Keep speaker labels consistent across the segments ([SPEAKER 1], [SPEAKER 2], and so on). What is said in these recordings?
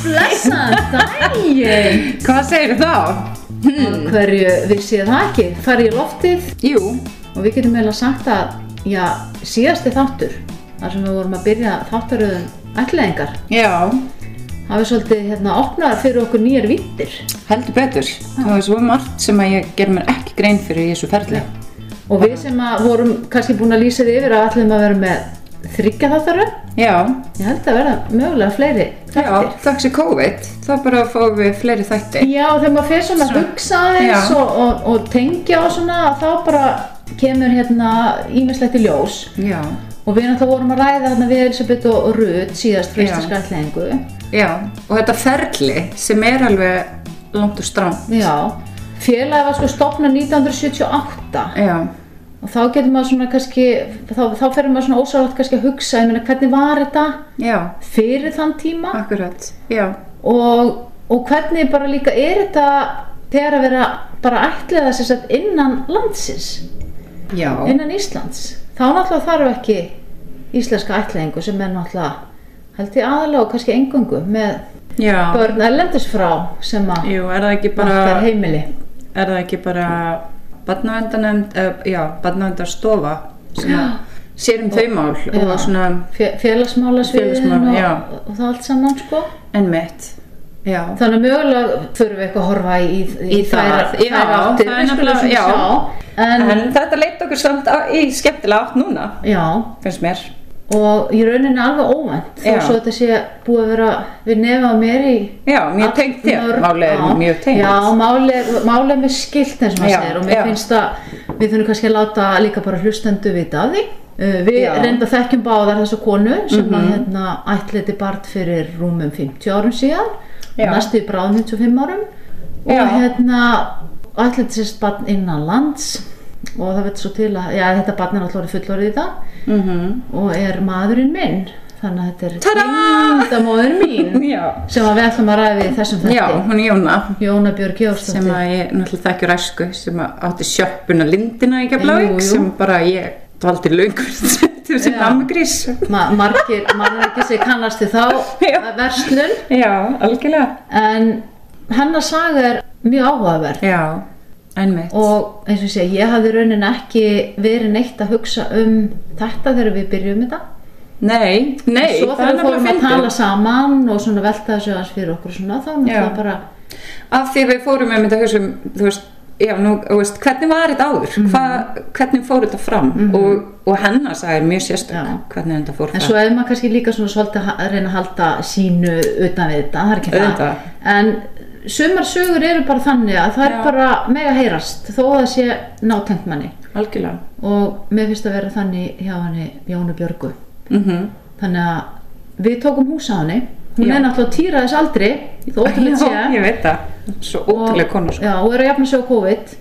[SPEAKER 1] Góðan daginn!
[SPEAKER 2] Hvað segir þá?
[SPEAKER 1] Af Hverju vissi ég það ekki? Far ég í loftið
[SPEAKER 2] Jú,
[SPEAKER 1] og við getum eiginlega sagt að já, síðasti þáttur þar sem við vorum að byrja þáttaröðum ætlaðingar
[SPEAKER 2] já,
[SPEAKER 1] hafi svolítið hérna opnaðar fyrir okkur nýjar vittir
[SPEAKER 2] heldur betur. Það var svo margt sem að ég ger mér ekki grein fyrir í þessu ferli.
[SPEAKER 1] og við sem að vorum kannski búin að lýsa því yfir að ætlum að vera með þryggja þáttaröð
[SPEAKER 2] Já,
[SPEAKER 1] ég held að vera mögulega fleiri
[SPEAKER 2] já,
[SPEAKER 1] þættir
[SPEAKER 2] þakks í COVID, þá bara fáum við fleiri þætti.
[SPEAKER 1] Já, þegar maður fer svona að
[SPEAKER 2] Svo-
[SPEAKER 1] hugsa aðeins
[SPEAKER 2] Já.
[SPEAKER 1] og, og, og tengja og svona þá bara kemur hérna ímislegt í ljós
[SPEAKER 2] Já,
[SPEAKER 1] og við náttúrulega vorum að ræða hérna við Elisabeth og og Rut síðast frá
[SPEAKER 2] Já.
[SPEAKER 1] íslenska ætlengu
[SPEAKER 2] já, og þetta ferli sem er alveg langt og strán.
[SPEAKER 1] Já, félagi var sko stopnað 1978
[SPEAKER 2] Já,
[SPEAKER 1] og þá getur maður svona kannski þá, þá fer maður svona ósátt kannski að hugsa ég meina hvernig var þetta
[SPEAKER 2] já,
[SPEAKER 1] fyrir þann tíma
[SPEAKER 2] akkurat, já,
[SPEAKER 1] og, og hvernig bara líka er þetta þegar að vera bara ætlaða sem sagt innan landsins
[SPEAKER 2] já,
[SPEAKER 1] innan Íslands þá náttúrulega þarf ekki íslenska ætlaðingu sem er náttúrulega held ég aðalega og kannski engöngu með
[SPEAKER 2] já.
[SPEAKER 1] börn erlendis frá sem að
[SPEAKER 2] Jú, er það ekki
[SPEAKER 1] vantar
[SPEAKER 2] bara,
[SPEAKER 1] heimili
[SPEAKER 2] er það ekki bara badnavendanemnd, já, badnavendarstofa sem að sér um þau mál og
[SPEAKER 1] Já.
[SPEAKER 2] svona
[SPEAKER 1] Fe- félagsmálasviðin
[SPEAKER 2] Félagsmála, já.
[SPEAKER 1] og, og það allt saman sko
[SPEAKER 2] enn mitt. Já,
[SPEAKER 1] þannig að mögulega þurfum við eitthvað að horfa í, í,
[SPEAKER 2] Í það, já,
[SPEAKER 1] áttir
[SPEAKER 2] það er
[SPEAKER 1] við skulum
[SPEAKER 2] nefnilega-
[SPEAKER 1] svona
[SPEAKER 2] já.
[SPEAKER 1] sjá. en,
[SPEAKER 2] En þetta leitt okkur samt á, í skemmtilega átt núna,
[SPEAKER 1] já,
[SPEAKER 2] finnst mér.
[SPEAKER 1] og í rauninni alveg óvænt þó
[SPEAKER 2] Já.
[SPEAKER 1] svo þetta sé búið að vera við nefa mér í
[SPEAKER 2] Já, mjög tengt þér,
[SPEAKER 1] Mörg-
[SPEAKER 2] málið er
[SPEAKER 1] já.
[SPEAKER 2] mjög tengt.
[SPEAKER 1] Já, málið er, máli er með skilt eins og maður
[SPEAKER 2] Já,
[SPEAKER 1] segir og mér
[SPEAKER 2] já.
[SPEAKER 1] finnst að við þurfum kannski að láta líka bara hlustendu vita af því Uh, við
[SPEAKER 2] Já. Mhm.
[SPEAKER 1] reynda þekkjum báðar þessa konu sem að hérna ætliti bart fyrir rúmum 50 árum síðan
[SPEAKER 2] Já.
[SPEAKER 1] næstu í bráðum 55 árum og
[SPEAKER 2] Já.
[SPEAKER 1] hérna ætliti sérst barn innan lands og það veit svo til að, já þetta barn er alltaf orðið fullorðið í dag
[SPEAKER 2] Mm
[SPEAKER 1] og er maðurinn minn þannig að þetta er
[SPEAKER 2] Tada!
[SPEAKER 1] tengdamóður mín
[SPEAKER 2] Já.
[SPEAKER 1] sem að við ætlum að ræða við í þessum þætti
[SPEAKER 2] Já, hún er Jóna,
[SPEAKER 1] Jóna Björg
[SPEAKER 2] sem
[SPEAKER 1] Jórsdóttir
[SPEAKER 2] að ég náttúrulega þekkjur æsku, sem að átti sjöppuna lindina í
[SPEAKER 1] Jú, jú.
[SPEAKER 2] Keflavík, sem bara ég dvaldi löngur til þessi
[SPEAKER 1] Já.
[SPEAKER 2] namgrís.
[SPEAKER 1] Ma margir, maður ekki sem kannast við
[SPEAKER 2] Já.
[SPEAKER 1] þá verslun
[SPEAKER 2] Já, algjörlega.
[SPEAKER 1] en hennar saga er mjög áhugaverð
[SPEAKER 2] Já, einmitt.
[SPEAKER 1] og eins og ég segi, ég hafði í rauninni ekki verið neitt að hugsa um þetta þegar við byrjum þetta
[SPEAKER 2] Nei, nei,
[SPEAKER 1] svo
[SPEAKER 2] það er
[SPEAKER 1] þegar við fórum
[SPEAKER 2] nefnilega
[SPEAKER 1] að tala
[SPEAKER 2] fyndið.
[SPEAKER 1] saman og svona velta þessu aðeins fyrir okkur og svona þá náttúrulega bara
[SPEAKER 2] Af því við fórum með mynda hugsa um, þú veist, já, nú, þú veist, hvernig var þetta áður?
[SPEAKER 1] Mm.
[SPEAKER 2] Hva, hvernig fór þetta fram? Og, og hennar sagði mjög sérstök
[SPEAKER 1] Já.
[SPEAKER 2] hvernig þetta fór fram.
[SPEAKER 1] En svo ef maður kannski líka svona svolítið að reyna að halda sínu utan við þetta, það er ekki
[SPEAKER 2] Auðvitað.
[SPEAKER 1] það. En sumar sögur eru bara þannig að það er
[SPEAKER 2] Já.
[SPEAKER 1] bara mega heyrast þó að það sé nátengt manni.
[SPEAKER 2] Algjörlega.
[SPEAKER 1] Og mér finnst að vera þannig hjá henni Jónu Björgu.
[SPEAKER 2] Mm
[SPEAKER 1] Þannig að við tókum hús á henni. Hún
[SPEAKER 2] Já.
[SPEAKER 1] er náttúrulega týra þess aldri, þó ótrúlega sé.
[SPEAKER 2] Já, ég veit það. Svo ótrúlega konu sko.
[SPEAKER 1] Já, og er að jafna sig á COVID.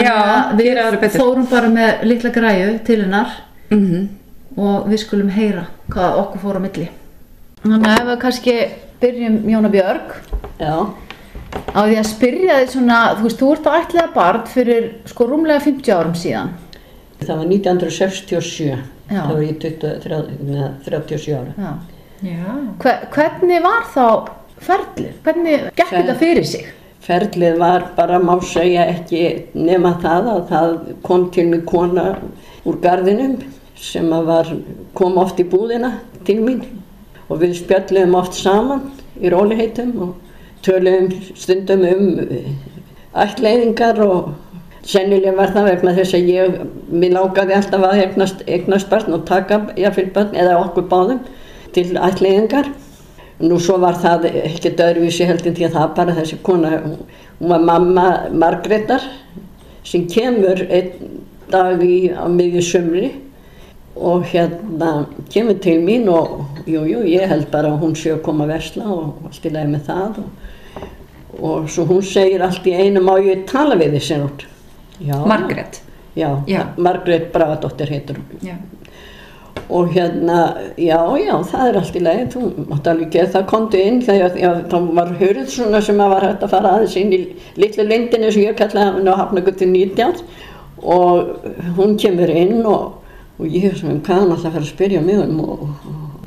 [SPEAKER 2] Já,
[SPEAKER 1] við
[SPEAKER 2] gera aðra betur.
[SPEAKER 1] fórum bara með litla græju til hennar
[SPEAKER 2] Mm
[SPEAKER 1] og við skulum heyra hvað okkur fór á milli. Þannig að ef við kannski byrjum Jóna Björg
[SPEAKER 3] Já,
[SPEAKER 1] á því að spyrja þið svona, þú veist, þú ert á ætlaða barn fyrir sko rúmlega 50 árum síðan.
[SPEAKER 3] það var 1967,
[SPEAKER 1] Já.
[SPEAKER 3] þá var ég 20, 30, neða, 37 ára.
[SPEAKER 1] Já.
[SPEAKER 2] Já.
[SPEAKER 1] Hve, hvernig var þá ferlið? Hvernig gekk
[SPEAKER 3] Fer-
[SPEAKER 1] þetta fyrir sig?
[SPEAKER 3] Ferlið var bara, má segja, ekki nema það að það kom til mig kona úr gardinum sem að var, kom oft í búðina til mín og við spjalluðum oft saman í róliheitum og töluðum stundum um eh, ættleiðingar og sennilega var það vegna þess að ég, mér lákaði alltaf að eignast, eignast barn og taka jafnvel barn eða okkur báðum til ættleiðingar. Nú svo var það ekkert öðruvísi heldur því að það bara þessi kona, hún- hún var mamma Margreðar sem kemur einn dag í, á miðju sumri og hérna kemur til mín og jú, jú, ég held bara að hún sé að koma að vesla og allt í lagi með það og, og svo hún segir allt í einu má ég tala við þið sér út. Já,
[SPEAKER 2] Margrét.
[SPEAKER 3] Já,
[SPEAKER 2] Já.
[SPEAKER 3] Margrét Bragadóttir heitur hún.
[SPEAKER 2] Já.
[SPEAKER 3] Og hérna, já, já, það er allt í lagi, þú mátt alveg gera það, komdu inn, þegar já, þá var hurð svona sem að var hægt að fara aðeins inn í litlu lindinu sem ég kallaði hann á Hafnagutti 19 og hún kemur inn og, og ég er svona, hvað hann alltaf að um fara að spyrja mig um og, og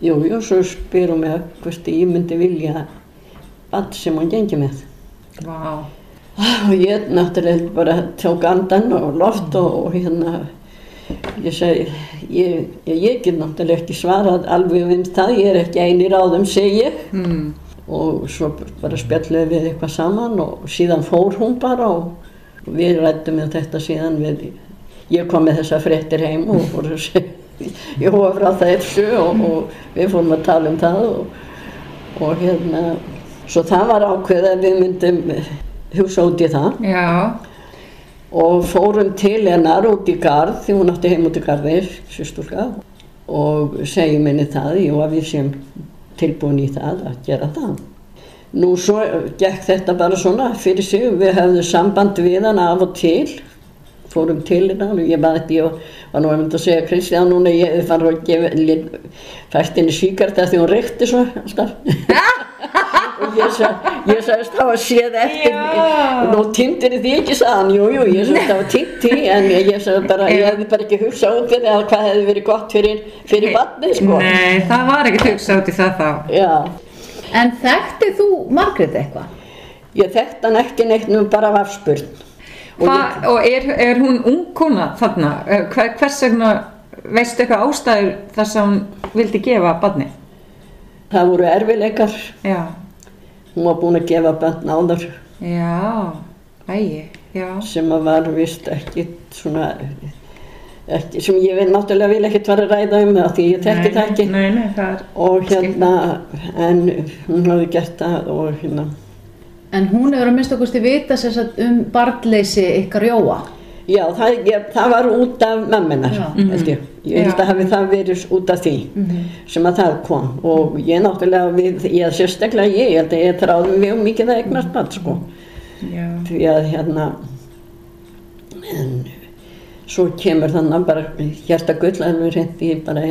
[SPEAKER 3] jú, jú, svo spyr hún mig hvort ég myndi vilja allt sem hún gengi með.
[SPEAKER 2] Vá.
[SPEAKER 3] Ah, Og ég náttúrulega bara tók andan og loft og, og hérna, ég segi, ég, ég, ég get náttúrulega ekki svarað alveg um það, ég er ekki eini ráðum, segi ég.
[SPEAKER 2] Mm.
[SPEAKER 3] Og svo bara spjalluði við eitthvað saman og síðan fór hún bara og við rættum með þetta síðan við, ég kom með þessa fréttir heim og fór að segja, ég hóða frá það þessu og, og við fórum að tala um það og, og hérna, svo það var ákveðið að við myndum hugsa út í það
[SPEAKER 2] Já.
[SPEAKER 3] og fórum til hennar út í garð því hún átti heim út í garði, sýsturka og segjum henni það jú að við séum tilbúin í það að gera það nú svo gekk þetta bara svona fyrir sig, við hefðum samband við hann af og til fórum til hennar og ég maður þetta ég var nú að mynda að segja Kristján núna ég fann að gefa fært henni síkart því hún reykti svo alltaf og ég, sa, ég sagðist hafa séð eftir
[SPEAKER 2] Já.
[SPEAKER 3] nú tindir því ekki saðan, jú, jú, ég sagðist hafa tindi en ég, ég sagði bara, ég hefði bara ekki hugsað út fyrir að hvað hefði verið gott fyrir, fyrir vatni, sko
[SPEAKER 2] Nei, það var ekkert hugsað út í það þá.
[SPEAKER 3] Já,
[SPEAKER 1] En þekktið þú Margrét eitthvað?
[SPEAKER 3] ég þekkt hann ekki neitt nú bara af afspurn og
[SPEAKER 2] Hva,
[SPEAKER 3] ég,
[SPEAKER 2] og er, er hún ungkona þarna? Eh, Hver, hvers vegna, veistu eitthvað ástæður þar sem hún vildi gefa badni?
[SPEAKER 3] það voru erfileikar
[SPEAKER 2] Já,
[SPEAKER 3] hún var búin að gefa bann áður
[SPEAKER 2] já, ægi, já,
[SPEAKER 3] sem að var vist ekki svona ekki, sem ég vil náttúrulega vil ekkert vera að ræða um það því ég þekki
[SPEAKER 2] Nei,
[SPEAKER 3] það ekki
[SPEAKER 2] Nei, nei, það er
[SPEAKER 3] og hérna, en hún hafði gert það og hérna
[SPEAKER 1] En hún hefur að minnst okkur stið vita sem sagt, um barnleysi ykkar Jóa.
[SPEAKER 3] já, það, ég, það var út af mamminar,
[SPEAKER 1] Já.
[SPEAKER 3] held ég ég held
[SPEAKER 2] Já.
[SPEAKER 3] að hafi það verið út af því sem að það kom og ég náttúrulega við, ég sérstaklega ég, ég held að ég þráði mjög mikið að eignast bann sko
[SPEAKER 2] já,
[SPEAKER 3] því að hérna en svo kemur þannig bara hjarta gull alveg reynd því bara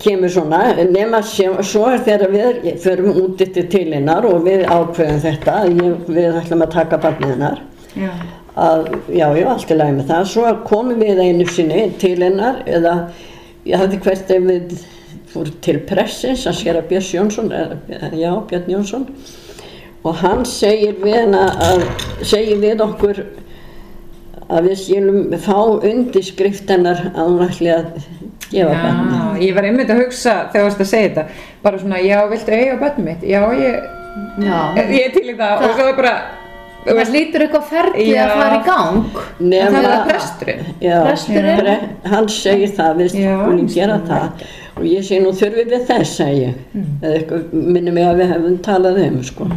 [SPEAKER 3] kemur svona nema sem, svo er þegar við förum út eftir til hennar og við ákveðum þetta að ég, við ætlum að taka barnið hennar
[SPEAKER 2] já,
[SPEAKER 3] að já, já, allt í lagi með það svo komum við einu sinni til hennar eða ég hafði hvert ef við fórum til pressins að skera Björns Jónsson eða- já, Björn Jónsson og hann segir við hennar að segir við okkur að við skilum fá undirskrift hennar að hún ætli að
[SPEAKER 2] já,
[SPEAKER 3] gefa ja.
[SPEAKER 2] ég var einmitt að hugsa þegar þú varst að segja þetta, bara svona, já, viltu eiga badni mitt? Já, ég,
[SPEAKER 1] Já.
[SPEAKER 2] ég er til í það, og svo er bara, þú
[SPEAKER 1] Það
[SPEAKER 2] veist,
[SPEAKER 1] lítur eitthvað ferli
[SPEAKER 2] Já.
[SPEAKER 1] að fara í gang.
[SPEAKER 2] en það er það presturinn.
[SPEAKER 3] Já,
[SPEAKER 1] Presturinn?
[SPEAKER 3] pre- hann segir það, við
[SPEAKER 2] Já,
[SPEAKER 3] skulum
[SPEAKER 2] við
[SPEAKER 3] gera
[SPEAKER 2] skulum
[SPEAKER 3] það og ég segi nú þurfið við þess, segi ég eða eitthvað minnir mig að við hefum talað um sko.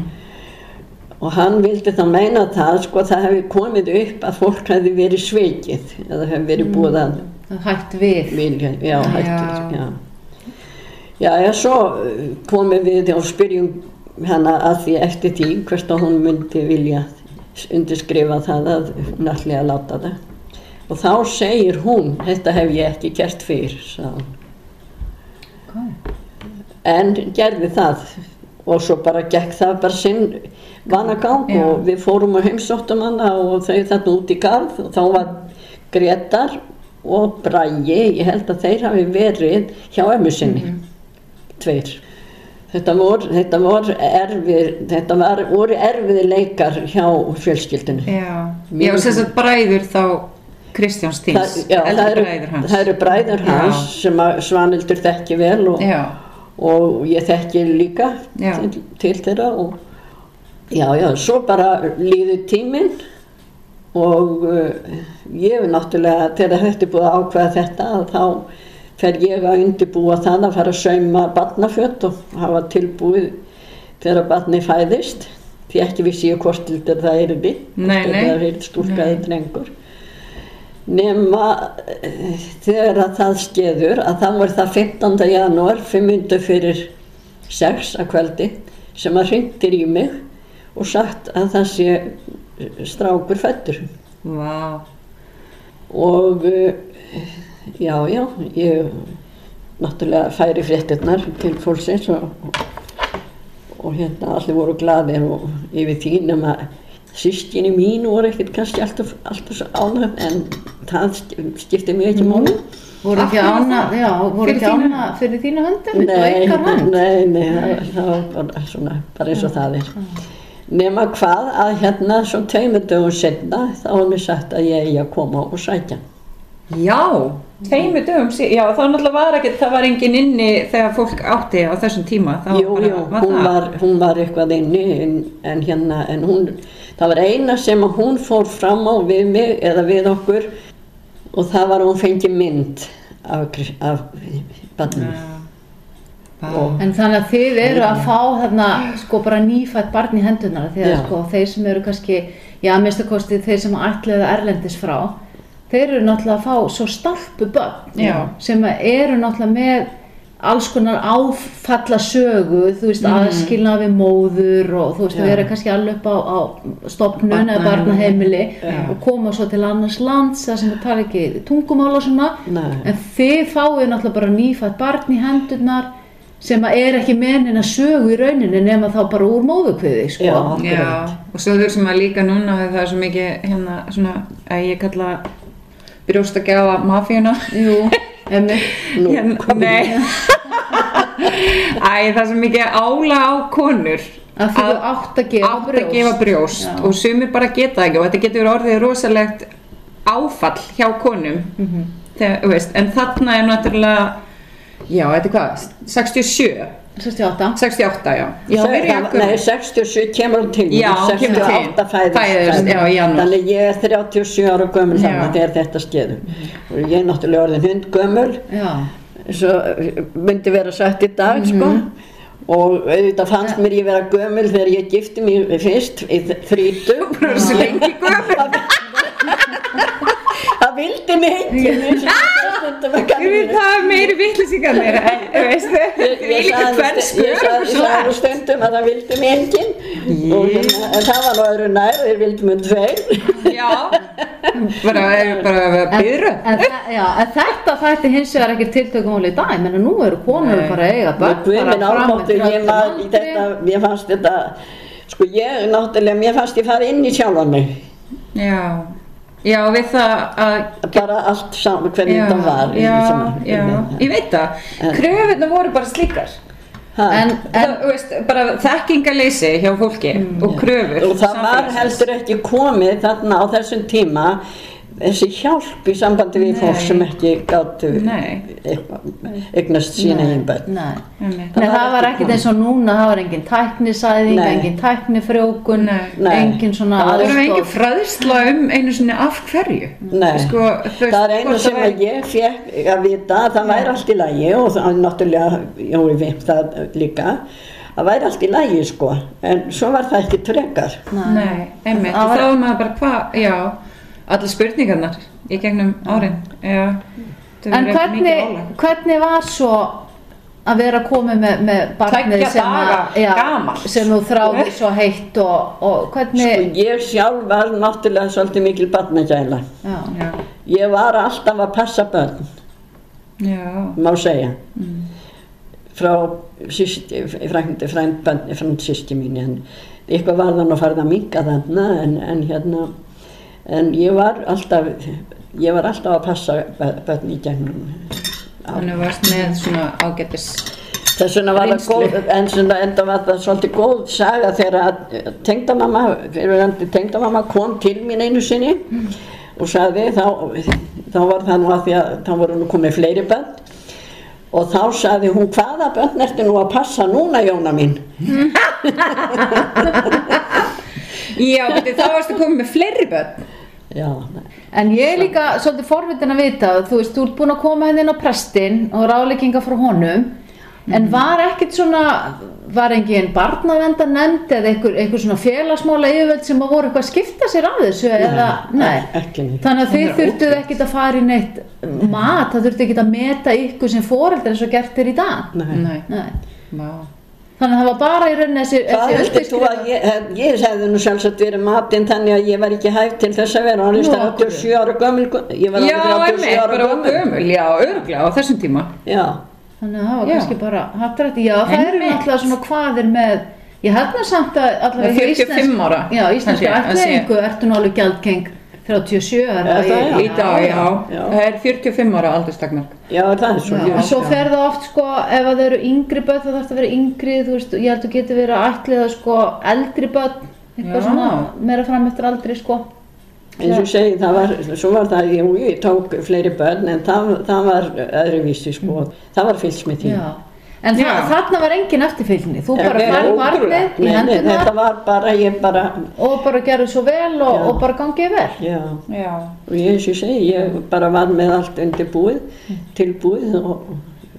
[SPEAKER 3] og hann vildi þá meina það, sko, það hefði komið upp að fólk hefði verið sveikið eða hefði verið búið að
[SPEAKER 1] Það hætt við.
[SPEAKER 3] vilja, já, hættur
[SPEAKER 2] Já.
[SPEAKER 3] já. já, já, svo uh, komum við og spyrjum hana að því eftir því hvert að hún myndi vilja undirskrifa það að náttúrulega láta það og þá segir hún þetta hef ég ekki gert fyrr sá. en gerði það og svo bara gekk það bara sinn vanagang
[SPEAKER 2] Já.
[SPEAKER 3] og við fórum og heimsóttum hana og þau þarna út í garð og þá var Gretar og Bragi, ég held að þeir hafi verið hjá ömmu sinni
[SPEAKER 2] Mhm.
[SPEAKER 3] tveir þetta vor, þetta vor erfið þetta var, voru erfiði leikar hjá fjölskyldinu
[SPEAKER 2] Já, já, sem sagt bræður þá Kristjáns Týns,
[SPEAKER 3] Það- já, það
[SPEAKER 2] eldri
[SPEAKER 3] eru-
[SPEAKER 2] bræður hans.
[SPEAKER 3] það eru bræður
[SPEAKER 2] Já.
[SPEAKER 3] hans sem að Svanildur þekki vel og,
[SPEAKER 2] Já,
[SPEAKER 3] og ég þekki líka
[SPEAKER 2] Já.
[SPEAKER 3] til, til þeirra og já, já, svo bara líður tíminn og uh, ég er náttúrulega þegar þetta er búið að ákveða þetta að þá fer ég að undirbúa það að fara að sauma barnafjött og hafa tilbúið þegar barni fæðist því ekki vissi ég hvort heldur það er við
[SPEAKER 2] Nei, nei.
[SPEAKER 3] það er stúlkaði drengur nema eh, þegar að það skeður að þá er það 15. janúar 500 fyrir 6 að kveldi sem að hringtir í mig og sagt að það sé eh, strákur fættur
[SPEAKER 2] vá,
[SPEAKER 3] og eh, já, já, ég náttúrulega færi fréttirnar til fólksins og, og hérna allir voru glaðir og yfir því nema Sískinni mín voru ekkert kannski alltaf, alltaf svo ánæg, en það skip- skipti mig ekki máli.
[SPEAKER 1] Voru ekki
[SPEAKER 2] Af hverju
[SPEAKER 1] ána,
[SPEAKER 2] það?
[SPEAKER 1] já, voru
[SPEAKER 2] Fyrir
[SPEAKER 1] ekki
[SPEAKER 2] þína-
[SPEAKER 1] ána fyrir þína höndum, þú eitthvað hönd.
[SPEAKER 3] nei, nei, það, það var bara svona, bara eins og það er. Nema hvað að hérna, svo tveimur dögum setna, þá var mér sagt að ég eigi að koma og sækja. hann.
[SPEAKER 2] Já, tveimur dögum síðan, já þá náttúrulega var ekkert, það var engin inni þegar fólk átti á þessum tíma. Það
[SPEAKER 3] Jú,
[SPEAKER 2] bara-
[SPEAKER 3] jú,
[SPEAKER 2] var
[SPEAKER 3] hún
[SPEAKER 2] það?
[SPEAKER 3] var, hún var eitthvað inni, en, en hérna, en hún, það var eina sem að hún fór fram á við mig, eða við okkur, og það var að hún fengi mynd af, Kris- af barninu.
[SPEAKER 2] Vá.
[SPEAKER 3] Og-
[SPEAKER 1] En þannig að þið eru að fá þarna sko bara nýfætt barn í hendunar því að
[SPEAKER 3] Já.
[SPEAKER 1] sko þeir sem eru kannski, já að minnsta kosti þeir sem ætlaðu erlendis frá þeir eru náttúrulega að fá svo stalpu börn
[SPEAKER 2] Já.
[SPEAKER 1] sem að eru náttúrulega með alls konar áfalla sögu, þú veist aðskilna við móður og þú veist að
[SPEAKER 3] Mm. Já.
[SPEAKER 1] vera kannski alveg upp á, á stopnun eða
[SPEAKER 2] Barnaheimili.
[SPEAKER 1] barnaheimili og koma svo til annars lands þar sem það tala ekki tungumála svona
[SPEAKER 3] Nei.
[SPEAKER 1] en þið fáið náttúrulega bara nýfætt barn í hendurnar sem að er ekki menin að sögu í rauninni nema þá bara úr móðukviði sko.
[SPEAKER 3] Já. Akkurat.
[SPEAKER 2] Já, og svo þurfum að líka núna að það er svo mikið hérna svona að ég kalla brjóstakjáa mafíuna
[SPEAKER 1] Jú, emmi
[SPEAKER 3] Nú,
[SPEAKER 2] hérna,
[SPEAKER 3] komið.
[SPEAKER 2] Nei Æ, það er svo mikið ála á konur
[SPEAKER 1] Að þið átt að gefa
[SPEAKER 2] átt
[SPEAKER 1] brjóst.
[SPEAKER 2] að gefa brjóst
[SPEAKER 1] Já.
[SPEAKER 2] og sumir bara geta það ekki og þetta getur orðið rosalegt áfall hjá konum
[SPEAKER 3] Mhm.
[SPEAKER 2] þegar, þú veist, en þarna er náttúrulega já, þetta er hvað, 67
[SPEAKER 1] 68
[SPEAKER 2] 68, já, já
[SPEAKER 3] Seg-
[SPEAKER 2] byrja
[SPEAKER 3] það-
[SPEAKER 2] gömul.
[SPEAKER 3] Nei, 67 kemur hún til mín,
[SPEAKER 2] Já, hún kemur til.
[SPEAKER 3] 68 fæðist,
[SPEAKER 2] Fæðist, já, í janúar.
[SPEAKER 3] Þannig ég er 37 ára gömul
[SPEAKER 2] Já.
[SPEAKER 3] þannig þegar þetta skeður. Og ég er náttúrulega orðin hund gömul,
[SPEAKER 1] Já,
[SPEAKER 3] svo myndi vera sagt í dag,
[SPEAKER 2] Mhm.
[SPEAKER 3] sko. Og auðvitað fannst mér ég vera gömul þegar ég gifti mig fyrst í þrítum.
[SPEAKER 2] Bara svo lengi gömul
[SPEAKER 3] Það vildi mig heitin, eins og það stundum að
[SPEAKER 2] Ég veit,
[SPEAKER 3] kalla
[SPEAKER 2] það er meiri vittlisingarnir, en þú veist það,
[SPEAKER 3] Ég-
[SPEAKER 2] því
[SPEAKER 3] ég
[SPEAKER 2] líka
[SPEAKER 3] sagði-
[SPEAKER 2] hvern
[SPEAKER 3] ég
[SPEAKER 2] skur
[SPEAKER 3] sagði-
[SPEAKER 2] og
[SPEAKER 3] ég
[SPEAKER 2] svo
[SPEAKER 3] sagði nú stundum að það vildi mig enginn og hérna, en það var nú öðru nær, þeir vildi mig tveir
[SPEAKER 2] Já, bara, bara byrru.
[SPEAKER 1] en, þa- já, en þetta þætti hins vegar ekki tiltökumáli í dag menn að nú eru konur
[SPEAKER 2] Nei.
[SPEAKER 1] bara að eiga börn
[SPEAKER 3] Mér
[SPEAKER 1] bara
[SPEAKER 3] guðminn
[SPEAKER 1] fram
[SPEAKER 3] ámáttu,
[SPEAKER 1] eftir
[SPEAKER 3] ég
[SPEAKER 1] öllum
[SPEAKER 3] var í
[SPEAKER 1] aldri.
[SPEAKER 3] þetta, mér fannst þetta, sko ég náttúrulega, mér fannst ég fara inn í sjálfan mig,
[SPEAKER 2] Já, já, við það að...
[SPEAKER 3] bara allt saman hvernig
[SPEAKER 2] Já,
[SPEAKER 3] þetta var.
[SPEAKER 2] já, já, ég veit það.
[SPEAKER 3] En-
[SPEAKER 2] Kröfunna voru bara slíkar.
[SPEAKER 1] en,
[SPEAKER 3] En, Mm.
[SPEAKER 2] Það, þú veist, bara þekkingaleysi hjá fólki og kröfur.
[SPEAKER 3] og það var
[SPEAKER 2] samfélagsins.
[SPEAKER 3] heldur ekki komið þarna á þessum tíma, þessi hjálp í sambandi við
[SPEAKER 2] Nei.
[SPEAKER 3] fólk sem ekki gáttu
[SPEAKER 2] Nei.
[SPEAKER 3] eitthvað- eignast sína einn börn.
[SPEAKER 1] nei
[SPEAKER 2] Einmitt.
[SPEAKER 1] Nei,
[SPEAKER 3] Það var
[SPEAKER 1] það var
[SPEAKER 3] ekki
[SPEAKER 1] ekkert eins og núna, það var engin tæknisæðing,
[SPEAKER 3] Nei.
[SPEAKER 1] engin tæknifrjókun,
[SPEAKER 2] Nei.
[SPEAKER 3] Nei.
[SPEAKER 1] engin svona
[SPEAKER 2] Það voru
[SPEAKER 1] aðstoð.
[SPEAKER 2] engin fræðsla um einu sinni af hverju.
[SPEAKER 3] Nei,
[SPEAKER 2] Sko, þú veist,
[SPEAKER 3] það er einu
[SPEAKER 2] hvort
[SPEAKER 3] sem
[SPEAKER 2] væri-
[SPEAKER 3] að ég fekk að vita að það væri allt í lagi og það er náttúrulega, já ég veit það líka, að væri allt í lagi sko, en svo var það ekki trekar.
[SPEAKER 2] Nei, einmitt,
[SPEAKER 1] Það
[SPEAKER 2] og
[SPEAKER 1] var-
[SPEAKER 2] þá er maður bara hvað, já, allar spurningarnar í gegnum
[SPEAKER 3] Mm.
[SPEAKER 2] árin, já. þetta
[SPEAKER 1] En
[SPEAKER 2] verið mikið
[SPEAKER 1] hvernig,
[SPEAKER 2] álag.
[SPEAKER 1] hvernig var svo að vera komið með, með barnið
[SPEAKER 2] Tveggja
[SPEAKER 1] sem, að-
[SPEAKER 2] daga gamalt.
[SPEAKER 1] sem þú þráði svo heitt og, og hvernig...
[SPEAKER 3] Og ég sjálf var náttúrulega svolítið mikil barnagæla.
[SPEAKER 1] Já,
[SPEAKER 2] Já,
[SPEAKER 3] Ég var alltaf að passa börn,
[SPEAKER 2] já,
[SPEAKER 3] má segja, frá sísti, frændi, frænd, frænd sísti mín, en eitthvað var þann og farið að minga þarna, en, en hérna, en ég var alltaf, ég var alltaf að passa bö- börn í gegnum
[SPEAKER 2] þannig að varst með svona ágætis,
[SPEAKER 3] Þess vegna var það
[SPEAKER 2] Reynslu.
[SPEAKER 3] góð, en svona enda var það svolítið góð saga þegar að tengdamamma, fyrirverandi tengdamamma kom til mín einu sinni og sagði þá, þá var það nú að því að þá voru nú komið fleiri börn og þá sagði hún hvaða börn ertu nú að passa núna Jóna mín?
[SPEAKER 2] já, beti, þá varstu komið með fleiri börn,
[SPEAKER 3] Já,
[SPEAKER 1] En ég er líka svolítið forvitin að vita, þú veist, þú ert búin að koma henni inn á prestinn og ráleikinga frá honum, en
[SPEAKER 3] Mhm.
[SPEAKER 1] var ekkert svona, var engin barnavenda nefnd eða einhver, einhver svona félagsmála yfirvöld sem að voru eitthvað að skipta sér að þessu eða, nei.
[SPEAKER 3] ekki neitt.
[SPEAKER 1] Þannig að þið
[SPEAKER 2] er
[SPEAKER 1] þurftuð ekkert að fara í neitt
[SPEAKER 3] Mhm.
[SPEAKER 1] mat, það þurftu ekkert að meta ykkur sem foreldrar eins og gert er í dag.
[SPEAKER 3] Nei.
[SPEAKER 2] nei,
[SPEAKER 1] Nei.
[SPEAKER 2] vá,
[SPEAKER 1] Þannig að það var bara í rauninni þessi,
[SPEAKER 3] Hvað heldur þú að
[SPEAKER 1] undirskrifa-
[SPEAKER 3] ég, eh, ég hefði nú sjálfsagt verið matinn þannig að ég var ekki hægt til þess að vera, hann er
[SPEAKER 1] Nú,
[SPEAKER 3] 37 ára gömul, ég var
[SPEAKER 2] já,
[SPEAKER 3] orðin 37
[SPEAKER 2] einmitt,
[SPEAKER 3] ára
[SPEAKER 2] bara
[SPEAKER 3] gömul.
[SPEAKER 2] gömul, já, örglega á þessum tíma,
[SPEAKER 3] Já.
[SPEAKER 1] Þannig að það var
[SPEAKER 2] Já.
[SPEAKER 1] kannski bara hattrætt. Já, það eru
[SPEAKER 2] Einmitt.
[SPEAKER 1] náttúrulega svona hvaðir með Ég held nú samt að
[SPEAKER 2] Það
[SPEAKER 1] allavega
[SPEAKER 2] er
[SPEAKER 1] hjá
[SPEAKER 2] 45
[SPEAKER 1] íslensk-
[SPEAKER 2] ára,
[SPEAKER 1] Já,
[SPEAKER 2] held ég,
[SPEAKER 1] íslenska
[SPEAKER 2] að sé.
[SPEAKER 1] ættleiðingu ertu nú alveg gjaldkeng 37 ára
[SPEAKER 3] Er það,
[SPEAKER 2] Í dag, já.
[SPEAKER 3] Já.
[SPEAKER 2] Það er 45 ára aldurstakmark.
[SPEAKER 3] Já, er það er
[SPEAKER 1] Já,
[SPEAKER 3] svo.
[SPEAKER 1] en svo fer það oft sko ef að það eru yngri börn þá þarf það að vera yngri þú veist, ég held að geti verið að ætlið að sko eldri börn eitthvað
[SPEAKER 2] Já.
[SPEAKER 1] svona meira fram eftir aldri sko
[SPEAKER 3] eins og ég segi, það var, svo var það, jú, ég tók fleiri börn en það, það var öðruvísi sko, það var fylgst með því.
[SPEAKER 1] Mm. Já. en
[SPEAKER 2] Já.
[SPEAKER 1] það, þarna var engin eftirfylgni þú bara
[SPEAKER 3] Þetta er
[SPEAKER 1] færð
[SPEAKER 3] ótrúlegt.
[SPEAKER 1] barnið í
[SPEAKER 3] Nei, nei,
[SPEAKER 1] hendurnar
[SPEAKER 3] Þetta var bara, ég bara,
[SPEAKER 1] og bara gerðu svo vel og,
[SPEAKER 3] Já.
[SPEAKER 1] og bara gangið vel
[SPEAKER 3] já,
[SPEAKER 2] Já.
[SPEAKER 3] og ég eins og ég segi, ég bara var með allt undir búið,
[SPEAKER 1] Mm.
[SPEAKER 3] tilbúið og